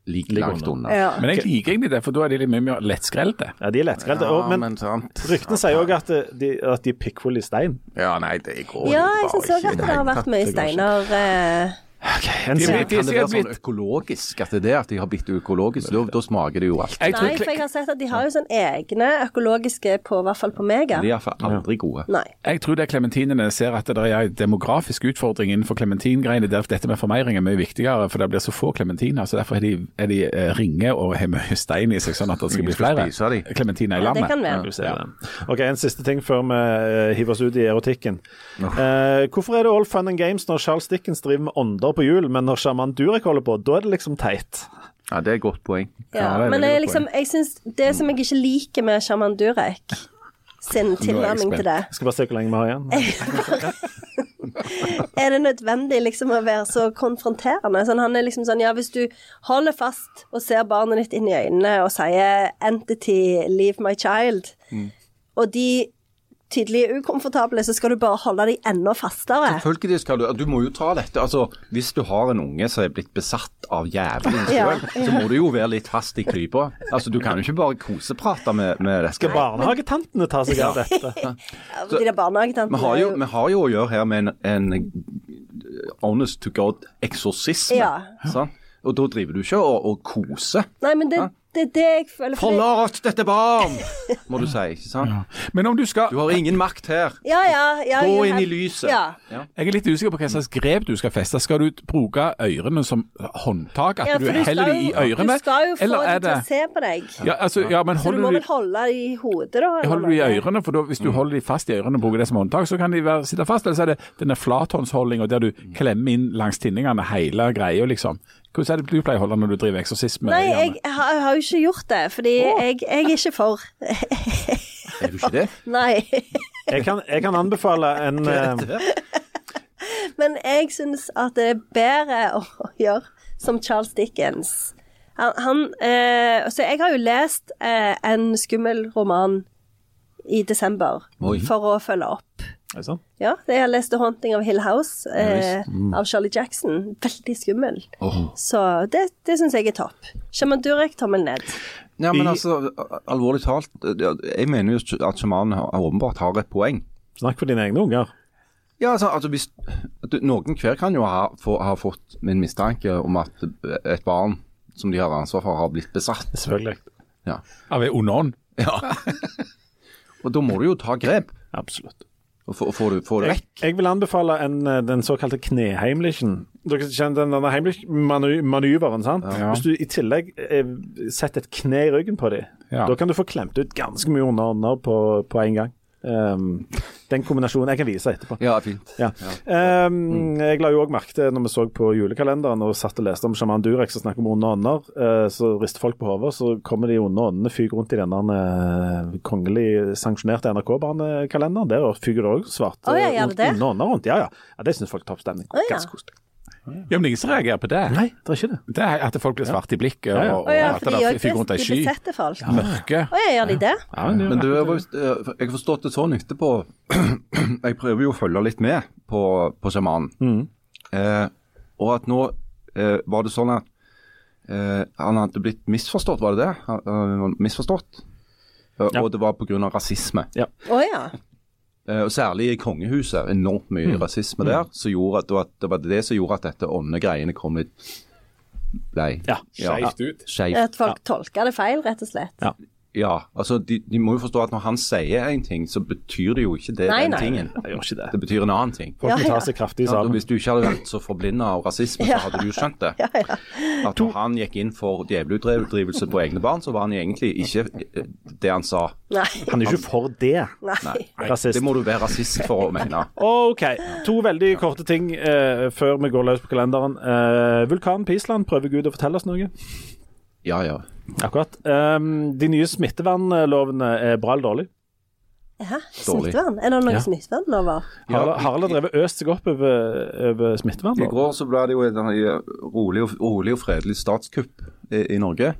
E: ligger Mm. langt unna.
C: Ja.
D: Men jeg liker egentlig det, for da er de litt mye mer lettskrelte.
B: Ja, de er lettskrelte.
E: Ja,
B: Og- men
E: men sant.
B: ryktene sier òg at eh, de, at de er pikkfulle i stein.
E: Ja, nei, det går jo
C: Ja,
E: bare
C: jeg syns òg
E: ikke.
C: at det
E: Nei,
C: har vært mye
E: det går ikke.
C: steiner eh,
B: en
D: Det er
B: side.
D: mitt-
E: Kan det være
D: sikkert
E: sånn økologisk at det er det at de har blitt økologisk? Da, da smaker det jo alt.
D: Jeg tror
C: Nei, for jeg
D: kle-
C: har sett at de har jo sånn egne økologiske på, i hvert fall på Mega.
E: De er iallfall aldri gode.
C: Nei.
D: jeg tror det er klementinene ser at det er en demografisk utfordring innenfor klementingreiene. der Dette med formeiring er mye viktigere, for det blir så få klementiner. så Derfor er de, er de eh, ringe og har mye stein i seg, sånn at det skal
E: Ingen
D: bli
E: skal
D: flere
E: spise de.
D: klementiner i
C: Ja, det
D: landet.
C: kan være.
B: Du ser det. Ok, En siste ting før vi eh, hiver oss ut i erotikken. Eh, hvorfor er det all fun and games når Charles Dickens driver med ånder på hjul, men når sjaman Durek holder på, da er det liksom teit?
E: Ja, Det er et godt poeng.
C: Ja,
D: det er
C: men
D: veldig
C: jeg,
D: godt
C: liksom, jeg synes det som jeg ikke liker med Shaman Durek sin tilnærming til det,
D: spent.
B: Jeg skal bare se hvor lenge vi har igjen.
C: er det nødvendig liksom å være så konfronterende? Sånn, han er liksom sånn, ja, hvis du holder fast og ser barnet ditt inn i øynene og sier 'entity, leave my child',
D: Mm.
C: og de tydelig er ukomfortable, så skal du bare holde dem enda fastere.
E: Selvfølgelig skal du Du må jo ta dette. Altså, hvis du har en unge som er blitt besatt av jævelen
C: Ja.
E: sjøl, så må du jo være litt fast i klypa. Altså, du kan jo ikke bare koseprate med, med dette.
B: Skal barnehagetantene ta seg av dette?
C: Ja, De der barnehagetantene
E: Vi har,
C: er
E: jo, vi har jo å gjøre her med en, en honest to god-eksorsisme.
C: Ja.
E: Og da driver du ikke og, og koser.
C: Nei, men det, det er det jeg føler for det-
E: Forlat dette barn, må du si. ikke sant?
D: Men om du skal
E: Du har ingen makt her.
C: Ja, ja, ja,
E: Gå
C: jo,
E: inn
C: han-
E: i lyset.
C: Ja.
D: Jeg er litt usikker på hva slags grep du skal feste. Skal du bruke ørene som håndtak? At
C: Ja,
D: du
C: for du
D: heller
C: skal
D: de i
C: jo-
D: ørene?
C: Du skal jo få
D: eller
C: dem
D: er
C: til å
D: det
C: se på deg.
D: ja, altså, ja, men
C: Så du må
D: holder
C: vel
D: du
C: holde i hodet, da? eller
D: Holder du i
C: noe?
D: ørene, for da, hvis
B: Mm.
D: du holder de fast i ørene og bruker det som håndtak, så kan de være, sitte fast. Eller så er det denne flathåndsholdninga der du
B: Mm.
D: klemmer inn langs tinningene hele greia, liksom. Hvordan er det du pleier å holde når du driver eksorsisme?
C: Nei,
D: Janne?
C: jeg har, jeg har jo ikke gjort det, fordi jeg, jeg er ikke for.
E: Er du ikke det?
C: Nei.
B: Jeg kan, jeg kan anbefale en eh,
C: Men jeg syns at det er bedre å gjøre som Charles Dickens. Han, han eh, Så jeg har jo lest eh, en skummel roman i desember
E: Oi.
C: for å følge opp.
B: Er det sant?
C: Ja, jeg har lest The Haunting of Hill House eh, av Charlie Jackson. Veldig skummel.
E: Åh.
C: Så det, det syns jeg er topp. Shaman Durek, tommel ned.
E: Ja, men altså, alvorlig talt, eh, jeg mener jo at sjamanen har- åpenbart har et poeng.
B: Snakk for dine egne unger.
E: Ja, altså, altså hvis, du, Noen hver kan jo ha, få, ha fått en mistanke om at et barn som de har ansvar for, har blitt besatt.
B: Selvfølgelig.
E: Ja.
D: Av en ond ånd?
E: Og da må du jo ta grep.
B: Absolutt.
E: Og få, og få, det- få det
B: Jeg,
E: vekk.
B: jeg vil anbefale en, eh, den såkalte kneheimlichen. Dere kjenner den denne Heimlich-manøveren, sant? Hvis du i tillegg eh, setter et kne i ryggen på dem,
D: Ja.
B: da kan du få klemt ut ganske mye under ånder på, på en gang. Um, den kombinasjonen jeg kan vise etterpå.
E: Ja, fint.
B: Ja. Ehm, jeg la jo òg merke til når vi så på julekalenderen og satt og leste om sjaman Durek som snakker om onde ånder, eh, så rister folk på hodet, så kommer de onde åndene fyker rundt i den der, eh, kongelig sanksjonerte NRK-banekalenderen. Der fyker det òg svarte
C: Å, ja, gjør det det?
B: onde ånder rundt. Ja, ja. ja det syns folk er topp stemning.
C: ja.
B: Ganske koselig.
D: Ja, men ingen som reagerer på det.
B: Nei, det er ikke det.
D: Det er at folk blir svarte i blikket,
B: Ja, ja.
D: og, og
C: Å ja,
D: at
C: for de
D: det
C: gjør
D: er fyker rundt ei
C: de
D: sky.
C: besetter folk. Å
D: Mørke.
C: ja, gjør de det?
E: Men du, jeg var vist- eh, jeg har forstått det sånn etterpå Jeg prøver jo å følge litt med på, på sjamanen. Eh, og at nå eh, var det sånn at eh, han hadde blitt misforstått, var det det? Han, han var misforstått? Eh,
B: Ja.
E: Og det var pga. rasisme.
C: Å ja.
E: Eh, Og Særlig i kongehuset. Enormt mye rasisme der. Så gjorde at, det var- det var det som gjorde at dette åndegreiene kom litt Blei.
B: Ja,
D: skeivt ut.
E: Skeivt.
C: At folk tolker det feil, rett og slett.
E: Ja. Altså, de, de må jo forstå at når han sier en ting, så betyr det jo ikke det,
C: Nei,
E: den
C: nei.
E: tingen.
B: Jeg gjør ikke det.
E: Det betyr en annen ting.
B: Folk
C: Ja,
B: må ta
C: ja.
B: seg kraftig i
E: Ja, og
B: salen.
E: hvis du ikke hadde vært så forblinda av rasisme, så hadde du jo skjønt det. At når han gikk inn for djevelutdrivelse på egne barn, så var han egentlig ikke eh, det han sa.
C: Nei.
B: Han er ikke for det.
C: Nei.
B: Rasist.
E: Det må du være rasist for å mene.
B: OK. To veldig korte ting eh, før vi går løs på kalenderen. Eh, vulkanen på Island, prøver Gud å fortelle oss noe?
E: Ja, ja.
B: Akkurat. Ehm, de nye smittevernlovene er bra eller dårlig.
C: Hæ?
E: Dårlig.
C: Smittevern? Er det noen
B: Ja.
C: smittevernlover?
E: Ja,
B: Harald
E: i-
B: Harald har drevet øst seg opp over, over
E: I
B: smittevernloven.
E: går så ble det jo et eh, rolig og, rolig og fredelig statskupp i, i Norge,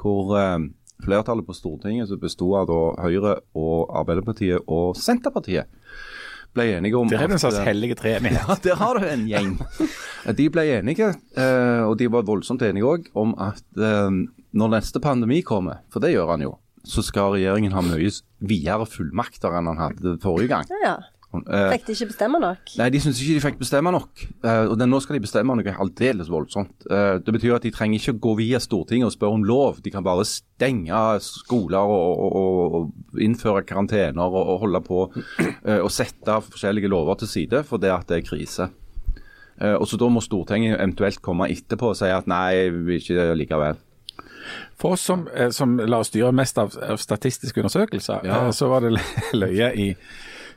E: hvor eh, flertallet på Stortinget, som besto av da Høyre og Arbeiderpartiet og Senterpartiet, ble enige om
D: Det er en slags
E: eh,
D: hellige treenighet.
E: ja, der har du en gjeng. De ble enige, eh, og de var voldsomt enige òg, om at eh, når neste pandemi kommer, for det gjør han jo, så skal regjeringen ha mye s- videre fullmakter enn han hadde forrige gang.
C: Ja, ja.
E: Eh,
C: Fikk de ikke bestemme nok?
E: Nei, de syns ikke de fikk bestemme nok. Eh, og den, nå skal de bestemme noe aldeles voldsomt. Eh, det betyr at de trenger ikke gå via Stortinget og spørre om lov. De kan bare stenge skoler og, og- og, og innføre karantener og, og holde på eh, og sette forskjellige lover til side fordi at det er krise. Eh, og så Da må Stortinget eventuelt komme etterpå og si at nei, vi ikke det likevel.
D: For oss som, eh, som la oss styre mest av, av statistiske undersøkelser, eh, så var det lø- løye i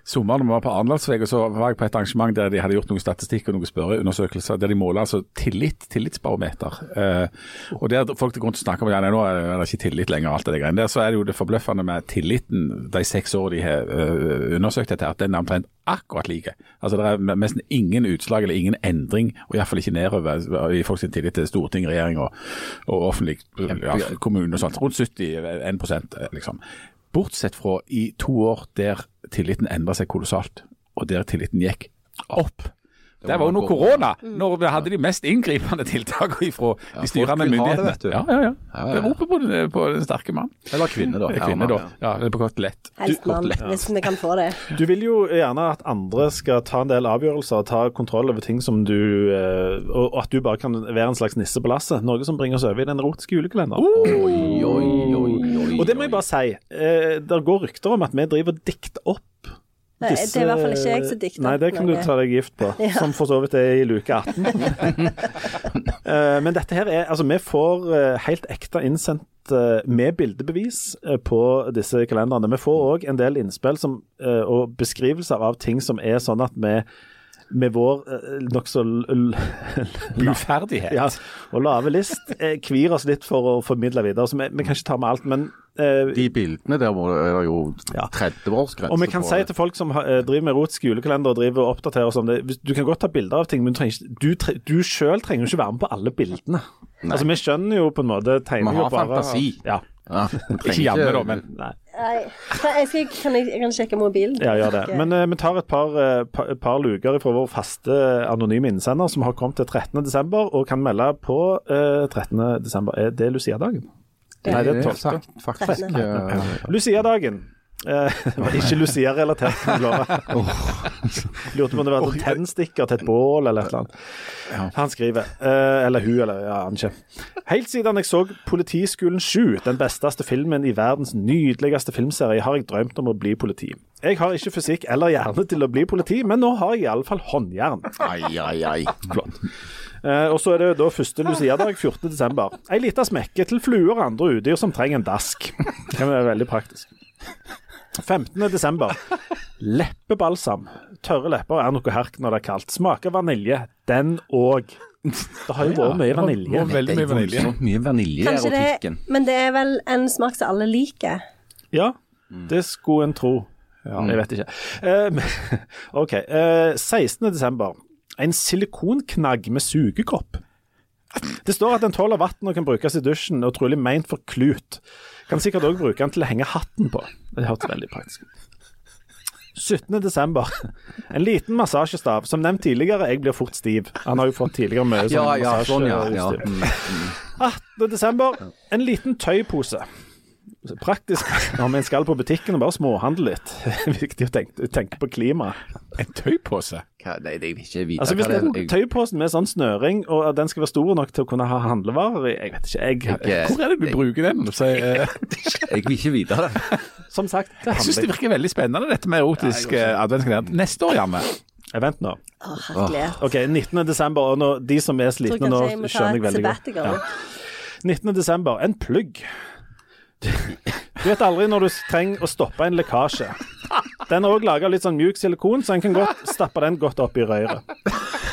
D: sommeren når vi var på Arendalsveg, og så var jeg på et arrangement der de hadde gjort noe statistikk og noen spørreundersøkelser, der de måler altså tillit, tillitsbarometer. Eh, og der folk til grunn til å snakke om ja, nei, nå er det ikke tillit lenger, og alt det greiene der, så er det jo det forbløffende med tilliten de seks årene de har eh, undersøkt dette, her, at den er omtrent akkurat like. Altså det er nesten ingen utslag eller ingen endring, og iallfall ikke nedover i folks tillit til storting, regjering og, og offentlig ja, kommune og sånt. Rundt 70-1 liksom. Bortsett fra i to år der tilliten endra seg kolossalt, og der tilliten gikk opp. Det var under korona, når vi hadde de mest inngripende tiltakene fra de styrende
E: folk vil ha det,
D: myndighetene.
E: vet du.
D: Ja, ja, ja.
E: ja, ja.
D: Det roper på den, eh, på den sterke mann.
E: Eller kvinner, da.
D: Kvinne, da. Ja, det er på godt lett.
C: Helst mann, hvis vi kan få det.
B: Du vil jo gjerne at andre skal ta en del avgjørelser, ta kontroll over ting som du eh, Og og at du bare kan være en slags nisse på lasset. Noe som bringer oss over i den erotiske julekalenderen.
E: Oi, oi, oi, oi,
B: og det må jeg bare si. Eh, der går rykter om at vi driver og dikter opp
C: Nei,
B: disse
C: Eh, Det er i hvert fall ikke jeg som dikter.
B: Nei, det kan du ta deg gift på. Som for så vidt er i luke 18. Eh, Men dette her er Altså, vi får eh, helt ekte innsendt eh, med bildebevis eh, på disse kalenderne. Vi får òg en del innspill som, eh, og beskrivelser av ting som er sånn at vi med vår eh, nokså l- l-
D: Uferdighet.
B: ja, og lave list eh, kvir oss litt for å formidle videre. Så vi, vi kan ikke ta med alt, men eh,
E: De bildene der må- er det jo
B: Ja.
E: 30-årsgrense
B: Og vi kan
E: på
B: si
E: det.
B: til folk som har- eh, driver med rot skolekalender og driver og oppdaterer og sånn, det- hvis- du kan godt ta bilder av ting, men du, trenger, ikke- du, tre, du selv trenger jo ikke være med på alle bildene. Altså, vi skjønner jo på en måte tegninger
E: Vi har
B: bare-
E: fantasi.
B: Ja,
E: ja, trenger
D: Ikke jamme, da, men
C: Nei, jeg, skal, kan jeg, jeg kan sjekke mobilen.
B: ja, gjør det. Men eh, vi tar et par, eh, pa- et par luker fra vår faste anonyme innsender som har kommet til 13. desember, og kan melde på eh, 13. desember. Er det Lucia-dagen? Nei, det er 12.
E: Fakt- Faktisk. eh,
B: Lucia-dagen. Eh, det var ikke Lucia-relatert, kan jeg love. Lurte på om det var et tennstikker til et bål eller et eller annet. Han skriver, eh, eller hun, eller ja, han ikke. Helt siden jeg så Politiskolen 7, den besteste filmen i verdens nydeligste filmserie, har jeg drømt om å bli politi. Jeg har ikke fysikk eller hjerne til å bli politi, men nå har jeg iallfall håndjern.
E: Ai, ai, ai.
B: Eh, og så er det da første Lucia-dag, 14. desember. Ei lita smekke til fluer og andre udyr som trenger en dask. Det er veldig praktisk. 15. desember. Leppebalsam. Tørre lepper er noe herk når det er kaldt. Smaker vanilje. Den òg. Det har jo vært mye vanilje.
D: Og veldig mye vanilje.
E: voldsomt mye vanilje i
C: Kanskje det,
E: erotikken.
C: men det er vel en smak som alle liker.
B: Ja,
E: Mm.
B: det skulle en tro. Jeg vet ikke. Eh, OK. eh, 16. desember. En silikonknagg med sugekopp. Det står at den tåler vann og kan brukes i dusjen, og trolig meint for klut. Kan sikkert òg bruke den til å henge hatten på. Det hørtes veldig praktisk ut. 17. desember. En liten massasjestav. Som nevnt tidligere, jeg blir fort stiv. Han har jo fått tidligere mye sånn
E: Ja, ja, sånn, ja. ja.
B: massasjeutstyr. 18. desember, en liten tøypose. Praktisk når vi skal på butikken og bare småhandle litt. Viktig å tenke, tenke på klima.
D: En tøypose.
E: Hva- Nei, jeg vil ikke vite
B: Altså Hvis
E: hva
B: det er
E: jeg-
B: tøyposen med sånn snøring, og at den skal være stor nok til å kunne ha handlevarer i Jeg vet ikke, jeg
E: jeg,
D: Hvor er det du bruker den? Så, eh, jeg,
E: jeg vil ikke vite det.
B: Som sagt, det
D: jeg syns det
B: handler
D: virker veldig spennende dette med erotisk eh, adventskalender. Neste år, Janne.
B: jeg, Vent nå.
C: Å, herlighet.
B: OK, 19. desember, og nå, de som er
C: Jeg tror
B: slitne nå,
C: kanskje jeg må ta
B: skjønner jeg
C: et
B: veldig godt.
C: sabbatical.
B: 19. desember, en plugg. Du vet aldri når du trenger å stoppe en lekkasje. Den er òg laga av litt sånn mjuk silikon, så en kan godt stappe den godt opp i røret.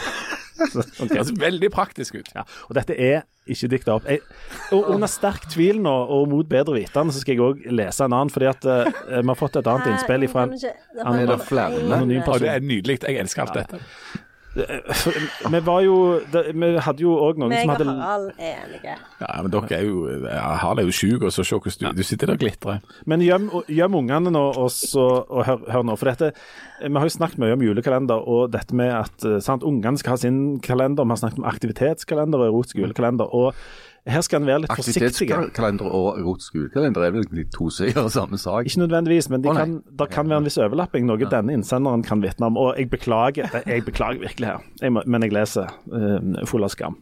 D: Det høres Altså, veldig praktisk ut.
B: Ja, og dette er ikke dikta opp. Jeg, og under sterk tvil nå, og mot bedre vitende, så skal jeg òg lese en annen, fordi at eh, vi har fått et annet innspill ifra en
E: Er det
B: anonym
D: Og
B: person.
D: det er nydelig. Jeg elsker alt dette.
B: Vi var jo det, Vi hadde jo òg noen
C: Meg
B: som
C: og
B: hadde
C: Harald er enige.
D: Ja, men dere er jo ja, Harald er jo sjuk, og så se hvordan du, du sitter der og glitrer.
B: Men gjem, gjem ungene nå, og, så, og hør, hør nå. For dette, vi har jo snakket mye om julekalender og dette med at eh, sant, ungene skal ha sin kalender. Vi har snakket om aktivitetskalender og erotisk julekalender. Og Her skal en være litt forsiktig.
E: Aktivitetskalender og erotisk julekalender er vel de to sider av samme sak?
B: Ikke nødvendigvis, men det
E: Å, nei.
B: kan, der kan være en viss overlapping, noe denne innsenderen kan vitne om. Og jeg beklager jeg beklager virkelig her, jeg må, men jeg leser eh, full av skam.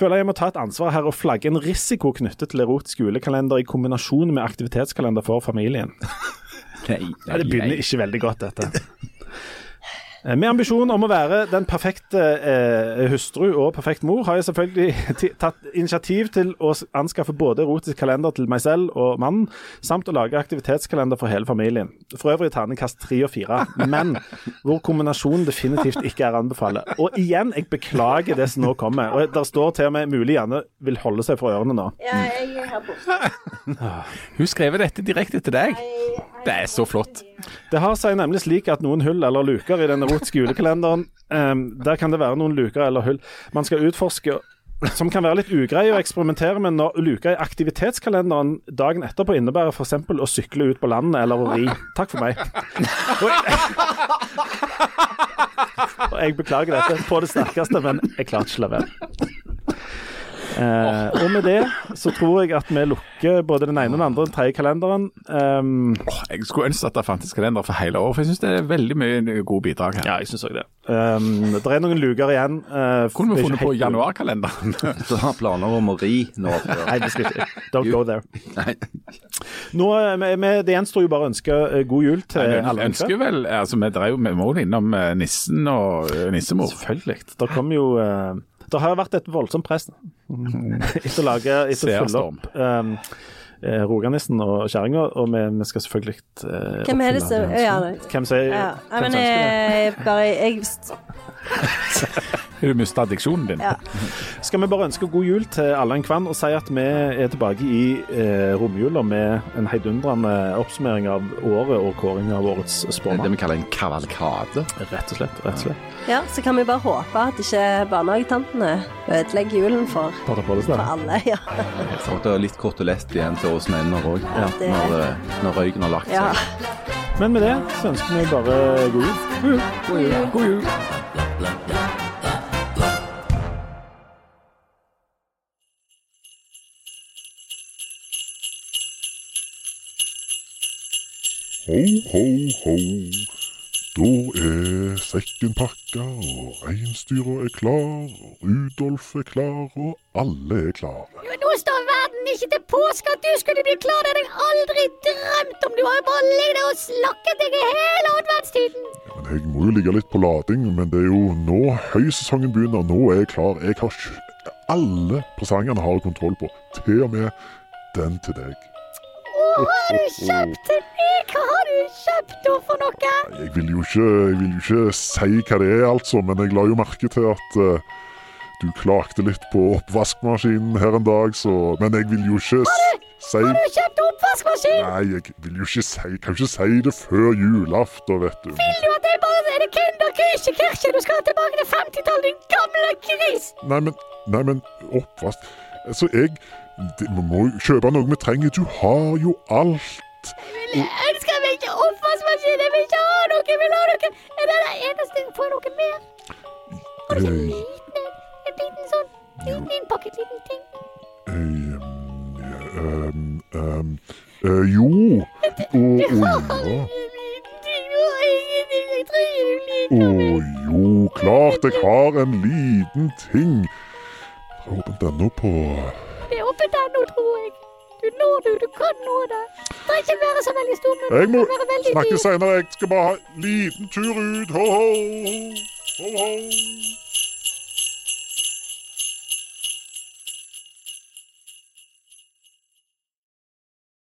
B: Føler jeg må ta et ansvar her og flagge en risiko knyttet til erotisk julekalender i kombinasjon med aktivitetskalender for familien.
E: Nei,
B: Ja, det begynner ikke veldig godt, dette. Eh, Med ambisjon om å være den perfekte eh, hustru og perfekt mor, har jeg selvfølgelig ti- tatt initiativ til å s- anskaffe både erotisk kalender til meg selv og mannen, samt å lage aktivitetskalender for hele familien. For øvrig terningkast tre og fire, men hvor kombinasjonen definitivt ikke er å anbefale. Og igjen, jeg beklager det som nå kommer. Og der står til og med mulig gjerne vil holde seg for ørene nå.
C: Ja, jeg er her borte.
D: Hun skrev dette direkte til deg. Det er så flott.
B: Det har seg nemlig slik at noen hull eller luker i den erotiske julekalenderen ehm, Der kan det være noen luker eller hull man skal utforske, som kan være litt ugreie å eksperimentere med når luka i aktivitetskalenderen dagen etterpå innebærer f.eks. å sykle ut på landet eller å ri. Takk for meg. Og og jeg beklager dette på det sterkeste, men jeg klarte ikke å la være. Eh, og med det så tror jeg at vi lukker både den ene og den andre og den tredje kalenderen. ehm,
D: Åh, jeg skulle ønske at det fantes kalender for hele året, for jeg syns det er veldig mye gode bidrag her.
B: Ja, jeg syns òg det. Um, det er noen luker igjen. Uh, det er
D: Kunne vi
B: ikke
D: funnet på
B: helt-
D: januarkalenderen?
E: Så har planer om å ri nå.
B: Nei, vi skal ikke. Don't go there.
E: Nei.
B: Nå, eh, vi- vi- det gjenstår jo bare å ønske eh, god jul til
D: Jeg
B: alle.
D: ønsker vel altså, Vi drev med mål innom eh, nissen og eh, nissemor.
B: Selvfølgelig. Det kommer jo eh, Det har vært et voldsomt press
D: Mm.
B: etter å lage Etter å følge
D: Seerstorm.
B: opp um, eh, Roganissen og kjerringa, og vi, vi skal selvfølgelig eh,
C: Hvem er det som
B: oppfylle
C: Ja,
B: det
C: det-
B: ønsket. Hvem sier
C: Ja, Nei,
B: hvem
C: men
B: som ønsker det?
C: jeg bare jeg,
D: Har du mista addiksjonen din?
C: Ja.
B: Skal vi bare ønske god jul til alle en kvann og si at vi er tilbake i eh, romjula med en heidundrende oppsummering av året og kåring av årets
E: Det
B: spåmann.
E: vi kaller en kavalkade.
B: Rett og slett. rett og slett.
C: Ja, så kan vi bare håpe at ikke barnehagetantene ødelegger julen for,
B: Ta det på deg,
C: for
B: Stella.
C: alle. Ja.
E: Og det er litt kotelett igjen til oss menn òg,
C: det-
E: når, eh, når røyken har lagt seg.
C: ja.
B: Men med det så ønsker vi bare god jul.
D: God jul.
F: Ho, ho, ho. Da er sekken pakka, og reinsdyra er klar, og Rudolf er klar, og alle er klare.
G: Men nå står verden ikke til påske at du skulle bli klar. Det hadde jeg aldri drømt om. Du har jo bare ligget der og slakket deg i hele adventstiden.
F: Men jeg må jo ligge litt på lading, men det er jo nå høysesongen begynner. Nå er jeg klar. Jeg har ikke Alle presangene har jeg kontroll på. Til og med den til deg.
G: Å, hva har du kjøpt til meg? Hva har du kjøpt da for noe?
F: Jeg vil jo ikke, jeg vil jo ikke si hva det er, altså, men jeg la jo merke til at eh, du klagde litt på oppvaskmaskinen her en dag, så Men jeg vil jo ikke s- si
G: Du har kjøpt oppvaskmaskin.
F: Nei, jeg vil jo ikke si Kan ikke si det før julaften, vet du.
G: Vil du at jeg bare er det kinderkrise, Kirke? Du skal tilbake til 50-tallet, din gamle gris.
F: Nei, men, nei, men oppvask Altså, jeg det, Vi må jo kjøpe noe vi trenger. Du har jo alt.
G: Jeg ønsker meg ikke oppvaskmaskin. Jeg vil ikke ha noe. Jeg vil ha noe. Er det det eneste? Får jeg noe mer? Har du ikke
F: Eh,
G: en liten en? En liten sånn? Liten innpakket liten ting?
F: eh, ehm, ehm, eh, jo Og olje. Å jo, klart jeg har en liten ting. Jeg har åpnet ennå på
G: Det er oppe der nå, tror jeg. Du når det, du kan nå det. Det er ikke være så veldig stor nå.
F: Jeg må
G: Det kan være veldig
F: snakke
G: dyr.
F: senere. Jeg skal bare ha en liten tur ut. Ho, ho. ho, ho.